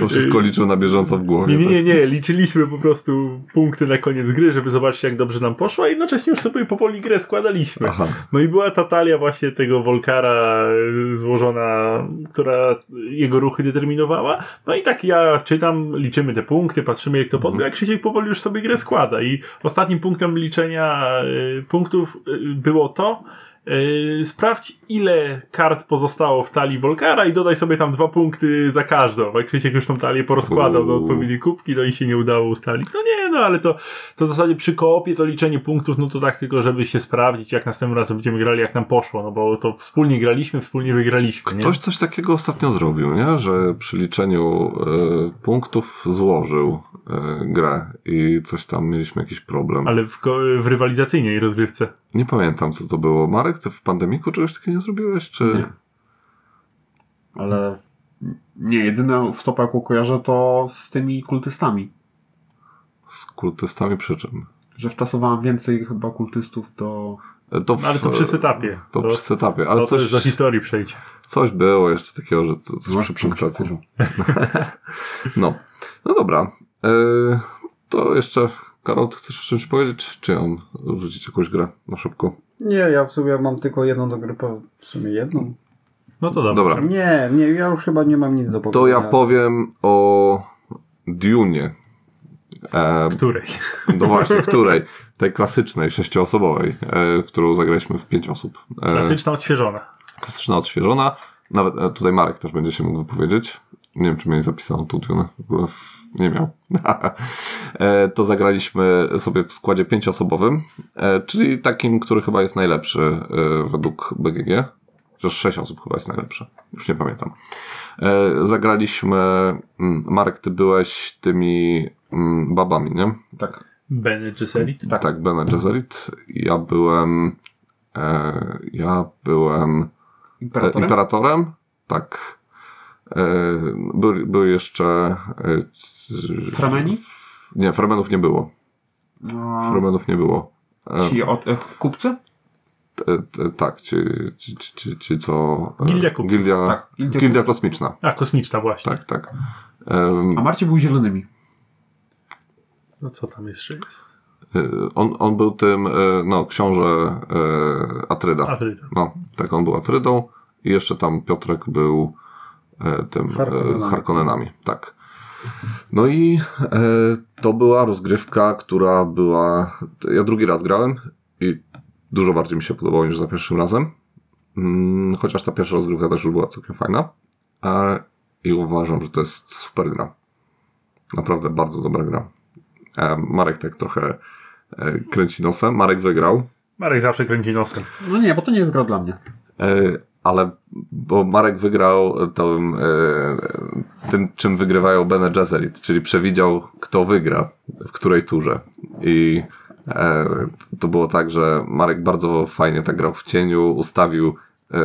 to wszystko liczył na bieżąco w głowie. Nie, nie, nie, nie, liczyliśmy po prostu punkty na koniec gry, żeby zobaczyć jak dobrze nam poszło, a jednocześnie już sobie powoli grę składaliśmy. tak? Aha. No i była ta talia właśnie tego Wolkara y, złożona, która jego ruchy determinowała. No i tak ja czytam, liczymy te punkty, patrzymy jak to Mhm. podbił, a Krzysiek powoli już sobie grę składa. I ostatnim punktem liczenia y, punktów y, było to, y, sprawdź ile kart pozostało w talii Wolkara i dodaj sobie tam dwa punkty za każdą. A Krzysiek już tą talię porozkładał do Uuu. odpowiedniej kubki, no i się nie udało ustalić. No nie, no ale to to w zasadzie przy koopie to liczenie punktów, no to tak tylko, żeby się sprawdzić, jak następnym razem będziemy grali, jak nam poszło, no bo to wspólnie graliśmy, wspólnie wygraliśmy, nie? Ktoś coś takiego ostatnio zrobił, nie? że przy liczeniu y, punktów złożył y, grę i coś tam mieliśmy jakiś problem. Ale w, ko- w rywalizacyjnej rozgrywce. Nie pamiętam co to było. Marek, ty w pandemiku czegoś takiego nie zrobiłeś? Czy... Nie. Ale nie, jedyne w topa, jaką kojarzę, to z tymi kultystami. Z kultystami przy czym? Że wtasowałem więcej chyba kultystów do... E, To No, ale to przy setupie. To, To- przy setupie, ale Ale to coś, już do historii przejdź. coś było jeszcze takiego, że co, coś przy punktacji. No, no dobra. E, to jeszcze, Karol, ty chcesz o czymś powiedzieć? Czy on rzucić jakąś grę na szybko? Nie, ja w sumie mam tylko jedną do gry, po- w sumie jedną. No to dobra. Dobra. Nie, nie, ja już chyba nie mam nic do To powiedzenia. ja powiem o Dune. E, Której? no właśnie, której? Tej klasycznej, sześcioosobowej, e, którą zagraliśmy w pięć osób. E, Klasyczna odświeżona. klasyczna, odświeżona. Nawet e, tutaj Marek też będzie się mógł wypowiedzieć. Nie wiem, czy mieli zapisaną tu tunę. W ogóle w- nie miał. E, to zagraliśmy sobie w składzie pięcioosobowym, e, czyli takim, który chyba jest najlepszy e, według BGG. Chociaż sześć osób chyba jest najlepsze. Już nie pamiętam. E, Zagraliśmy... mm, Marek, ty byłeś tymi mm, babami, nie? Tak. Bene Gesserit. Tak, tak Bene Gesserit. Ja byłem... e, Ja byłem... Imperatorem? Imperatorem? E, Tak. E, Był, był jeszcze. e, c- Fremeni? Nie, Fremenów nie było. No, Fremenów nie było. E, ci od e, kupcy? e, t- tak, ci, ci, ci, ci, ci co. e, Gildia Kupców. Gildia, Tak, Gildia Gildia, Kosmiczna. A, kosmiczna właśnie. Tak, tak. Em, mm. A Marcie był zielonymi. No co tam jeszcze jest? e, on, on był tym, e, no, książę e, Atryda. Afryka. No, tak, on był Atrydą i jeszcze tam Piotrek był e, tym Harkonnenami. Harkonnenami. E, Harkonnenami, tak. No i e, to była rozgrywka, która była. Ja drugi raz grałem i dużo bardziej mi się podobało niż za pierwszym razem. Mm, chociaż ta pierwsza rozgrywka też już była całkiem fajna. E, I uważam, że to jest super gra. Naprawdę bardzo dobra gra. E, Marek tak trochę e, kręci nosem. Marek wygrał. Marek zawsze kręci nosem. No nie, bo to nie jest gra dla mnie. E, Ale bo Marek wygrał tym, e, tym czym wygrywają Bene Gesserit, czyli przewidział, kto wygra w której turze. I e, to było tak, że Marek bardzo fajnie tak grał w cieniu, ustawił, e,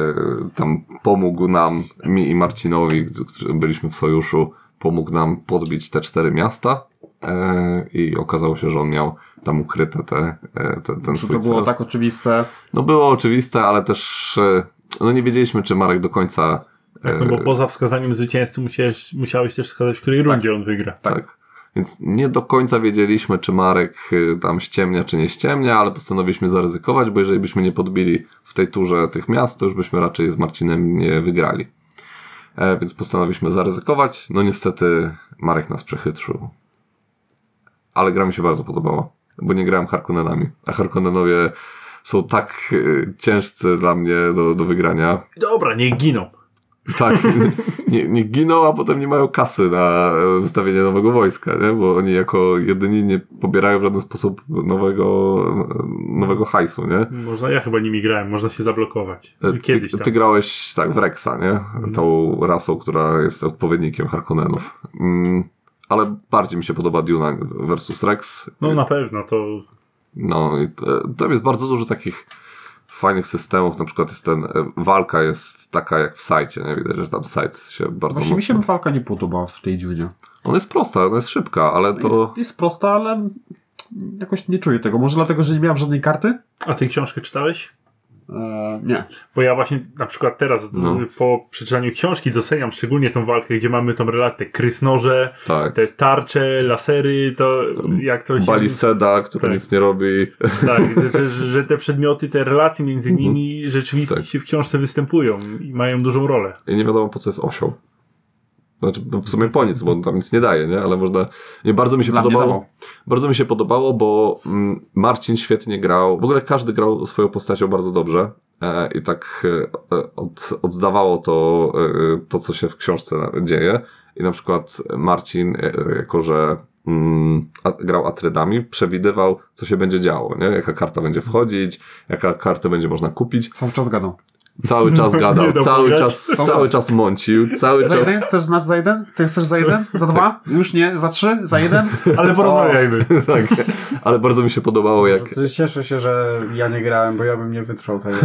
tam pomógł nam, mi i Marcinowi, którzy byliśmy w sojuszu, pomógł nam podbić te cztery miasta. E, I okazało się, że on miał tam ukryte te, e, te, ten Czy swój to było cel. tak oczywiste? No było oczywiste, ale też e, no nie wiedzieliśmy, czy Marek do końca. Tak, E. no bo poza wskazaniem zwycięzcy musiałeś, musiałeś też wskazać, w której rundzie on wygra. tak. Więc nie do końca wiedzieliśmy, czy Marek e, tam ściemnia, czy nie ściemnia, ale postanowiliśmy zaryzykować, bo jeżeli byśmy nie podbili w tej turze tych miast, to już byśmy raczej z Marcinem nie wygrali. E, więc postanowiliśmy zaryzykować. No niestety Marek nas przechytrzył. Ale gra mi się bardzo podobała, bo nie grałem Harkonnenami, a Harkonnenowie są tak e, ciężcy dla mnie do, do wygrania, Dobra, niech giną. Tak, nie, nie giną, a potem nie mają kasy na e, wystawienie nowego wojska, nie? bo oni jako jedyni nie pobierają w żaden sposób nowego, e, nowego hajsu, nie? Można, ja chyba nimi grałem, można się zablokować. E, Kiedyś ty, tam. Mhm. ty grałeś tak w Rexa, nie? Tą rasą, która jest odpowiednikiem Harkonnenów. Mm, ale bardziej mi się podoba Duna versus Rex. e, No na No, pewno, to No i t- tam jest bardzo dużo takich fajnych systemów, na przykład jest ten, e, walka jest taka jak w sajcie, nie widać, że tam sajt się bardzo Właśnie mi się mocno- walka nie podoba w tej dziunie. On jest prosta, on jest szybka, ale to... Jest, jest prosta, ale jakoś nie czuję tego. Może dlatego, że nie miałem żadnej karty? A ty książkę czytałeś? Eee, nie. Bo ja właśnie na przykład teraz No. z- po przeczytaniu książki doceniam szczególnie tą walkę, gdzie mamy tą relatę krysnoże, Tak. te tarcze, lasery, to jak to się... Baliseda, która Tak. nic nie robi. Tak, że, że, że te przedmioty, te relacje między nimi rzeczywiście Mhm. Tak. się w książce występują i mają dużą rolę. I nie wiadomo po co jest osioł. Znaczy, no w sumie po nic, bo on tam nic nie daje, nie? Ale można. Nie, bardzo mi się Dla mnie podobało. dawał. Bardzo mi się podobało, bo mm, Marcin świetnie grał. W ogóle każdy grał swoją postacią bardzo dobrze. E, I tak e, e, od, oddawało to, e, to, co się w książce na- dzieje. I na przykład Marcin, e, e, jako że mm, a, grał Atrydami, przewidywał, co się będzie działo, nie? Jaka karta będzie wchodzić, jaka kartę będzie można kupić. Cały czas gadał. Cały czas Nie gadał, dał cały pograć. czas, cały czas mącił, cały Za czas jeden? Chcesz znać za jeden? Ty chcesz za jeden? Za dwa? Już nie? Za trzy? Za jeden? Ale porozmawiajmy. tak. Ale bardzo mi się podobało, jak. Znaczy, Cieszę się, że ja nie grałem, bo ja bym nie wytrwał tego.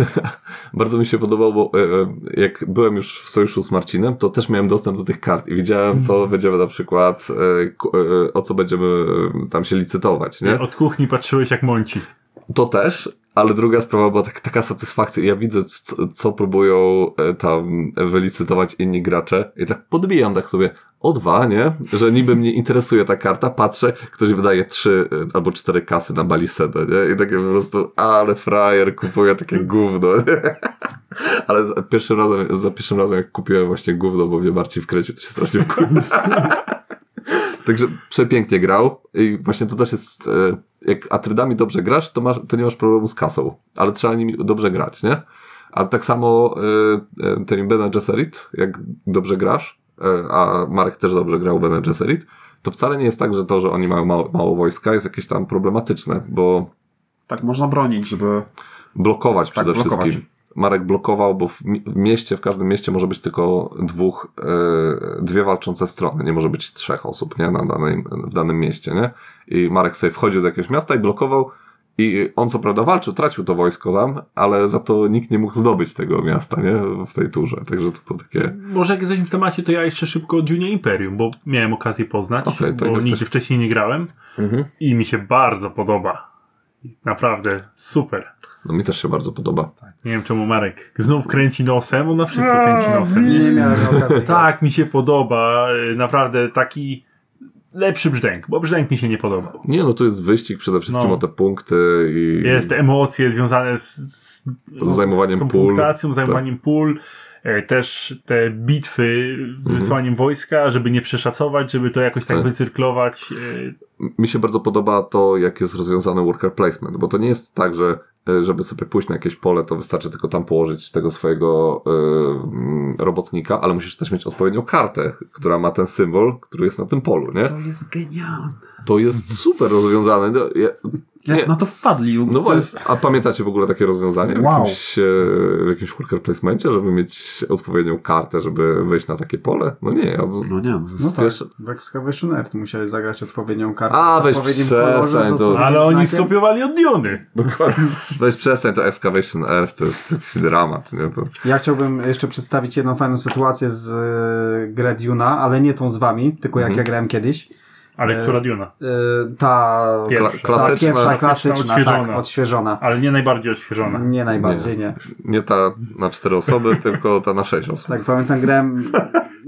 Bardzo mi się podobało, bo e, e, jak byłem już w sojuszu z Marcinem, to też miałem dostęp do tych kart i widziałem, co będziemy na przykład, e, ku- e, o co będziemy e, tam się licytować, nie? Od kuchni patrzyłeś jak mąci. To też, ale druga sprawa była tak, taka satysfakcja. Ja widzę, co, co próbują e, tam wylicytować inni gracze i tak podbijam tak sobie o dwa, nie? Że niby mnie interesuje ta karta, patrzę, ktoś wydaje trzy e, albo cztery kasy na balisedę, nie? I takie po prostu, ale frajer kupuje takie gówno, nie? Ale za pierwszym razem, za pierwszym razem jak kupiłem właśnie gówno, bo mnie Marcin wkręcił, to się strasznie wkurzyłem. Także przepięknie grał i właśnie to też jest, e, jak atrydami dobrze grasz, to, masz, to nie masz problemu z kasą, ale trzeba nimi dobrze grać, nie? A tak samo e, e, ten Bene Gesserit, jak dobrze grasz, e, a Marek też dobrze grał Bene Gesserit, to wcale nie jest tak, że to, że oni mają mało, mało wojska jest jakieś tam problematyczne, bo Tak, można bronić, żeby... blokować Tak, przede blokować. wszystkim. Marek blokował, bo w mi- w mieście, w każdym mieście może być tylko dwóch, e, dwie walczące strony, nie może być trzech osób, nie, na danej, w danym mieście, nie? I Marek sobie wchodził do jakiegoś miasta i blokował i on co prawda walczył, tracił to wojsko tam, ale za to nikt nie mógł zdobyć tego miasta, nie, w tej turze, także to było takie... Może jak jesteśmy w temacie, to ja jeszcze szybko o Dune Imperium, bo miałem okazję poznać, Okej, to bo jesteś- nigdzie wcześniej nie grałem i mi się bardzo podoba. Naprawdę super. No mi też się bardzo podoba. Nie wiem czemu Marek znów kręci nosem, on na wszystko kręci nosem. Nie miałem okazji. Tak, mi się podoba. y, Naprawdę taki lepszy brzdęk, bo brzdęk mi się nie podobał. Nie, no tu jest wyścig przede wszystkim No. o te punkty i... Jest te emocje związane z, z, Z zajmowaniem z tą pól. Tak. punktacją, zajmowaniem pól. e, Też te bitwy z wysłaniem wojska, żeby nie przeszacować, żeby to jakoś tak Mhm. Tak. wycyrklować. e, mi się bardzo podoba to, jak jest rozwiązany worker placement, bo to nie jest tak, że e, żeby sobie pójść na jakieś pole, to wystarczy tylko tam położyć tego swojego e, mm, robotnika, ale musisz też mieć odpowiednią kartę, która ma ten symbol, który jest na tym polu, nie? To jest genialne. To jest super rozwiązane. No, ja, Mhm. Jak Nie. na to wpadli? no to właśnie, jest... a pamiętacie w ogóle takie rozwiązanie w Wow. jakimś, e, w jakimś worker placemencie, żeby mieć odpowiednią kartę, żeby wejść na takie pole? No nie, ja No nie wiem. No tak, Wiesz- w Excavation Earth musieli zagrać odpowiednią kartę. A, w weź odpowiednim przestań, kolorze, z to- odpowiednim Ale oni znakiem. skopiowali od Diony. Weź przestań, to Excavation Earth to jest taki dramat, nie? To... Ja chciałbym jeszcze przedstawić jedną fajną sytuację z e, gry Duna, ale nie tą z wami, tylko jak Mhm. ja grałem kiedyś. Ale E, która Diona? E, Ta Tak, Pierwsza. ta Klasyczna. pierwsza, Klasyczna, klasyczna, odświeżona. tak, odświeżona. Ale nie najbardziej odświeżona. Nie najbardziej, nie. Nie ta na cztery osoby, tylko ta na sześć osób. Tak, pamiętam, grałem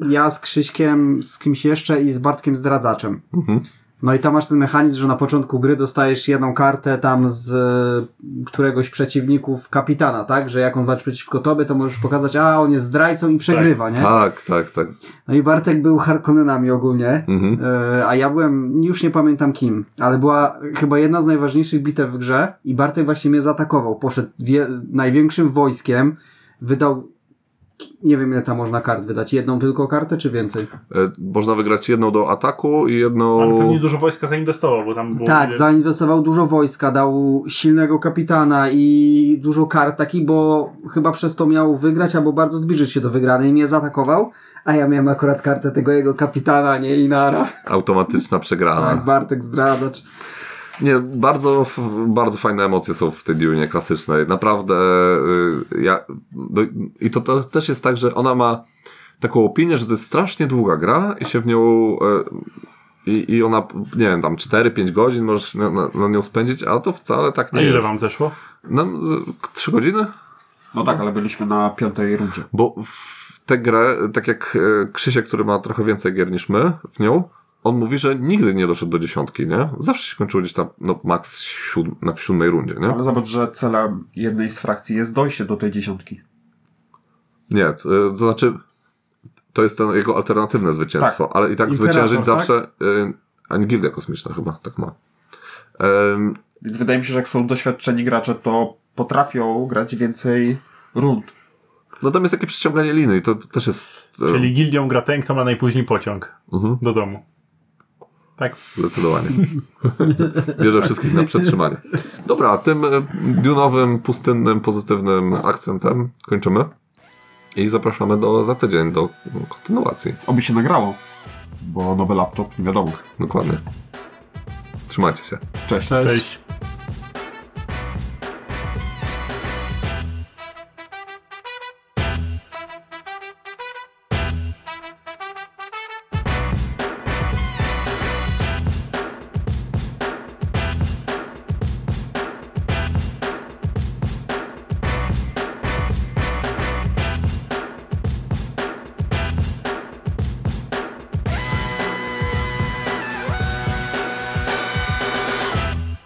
ja z Krzyśkiem, z kimś jeszcze i z Bartkiem Zdradzaczem. Mhm. No i tam masz ten mechanizm, że na początku gry dostajesz jedną kartę tam z e, któregoś przeciwników kapitana, tak? Że jak on walczy przeciwko tobie, to możesz pokazać, a on jest zdrajcą i przegrywa, nie? Tak, tak, tak. No i Bartek był Harkonnenami ogólnie, Mhm. e, a ja byłem, już nie pamiętam kim, ale była chyba jedna z najważniejszych bitew w grze i Bartek właśnie mnie zaatakował. Poszedł wie, największym wojskiem, wydał, nie wiem ile tam można kart wydać, jedną tylko kartę czy więcej? E, Można wygrać jedną do ataku i Ale jedną. pewnie dużo wojska zainwestował, bo tam było... Tak, ile- zainwestował dużo wojska, dał silnego kapitana i dużo kart takich, bo chyba przez to miał wygrać albo bardzo zbliżyć się do wygranej i mnie zaatakował, a ja miałem akurat kartę tego jego kapitana, nie Inara. Automatyczna przegrana. Tak, Bartek zdradzacz. Nie, bardzo, f- bardzo fajne emocje są w tej Dune klasycznej. Naprawdę. y, Ja, do, I to, to też jest tak, że ona ma taką opinię, że to jest strasznie długa gra i się w nią. y, I, I ona, nie wiem, tam 4-5 godzin możesz na, na, na nią spędzić, a to wcale tak nie A ile jest. wam zeszło? No, 3 godziny? No tak, ale byliśmy na piątej rundzie. Bo w tę grę, tak jak e, Krzysiek, który ma trochę więcej gier niż my w nią, on mówi, że nigdy nie doszedł do dziesiątki, nie? Zawsze się kończyło gdzieś tam, no, max siódm, na w siódmej rundzie, nie? Ale zobacz, że celem jednej z frakcji jest dojście do tej dziesiątki. Nie, e, to znaczy, to jest ten jego alternatywne zwycięstwo, ale i tak Imperator, zwyciężyć tak? zawsze, e, ani Gildia Kosmiczna chyba tak ma. Em, Więc wydaje mi się, że jak są doświadczeni gracze, to potrafią grać więcej rund. no tam jest takie przyciąganie liny i to, to też jest... e, Czyli gildią gra ten, kto ma najpóźniej pociąg mhm, do domu. Tak. Zdecydowanie. Bierze wszystkich na przetrzymanie. Dobra, tym e, dunowym, pustynnym, pozytywnym akcentem kończymy. I zapraszamy do, za tydzień do kontynuacji. Oby się nagrało, bo nowy laptop, nie wiadomo. Dokładnie. Trzymajcie się. Cześć. Cześć.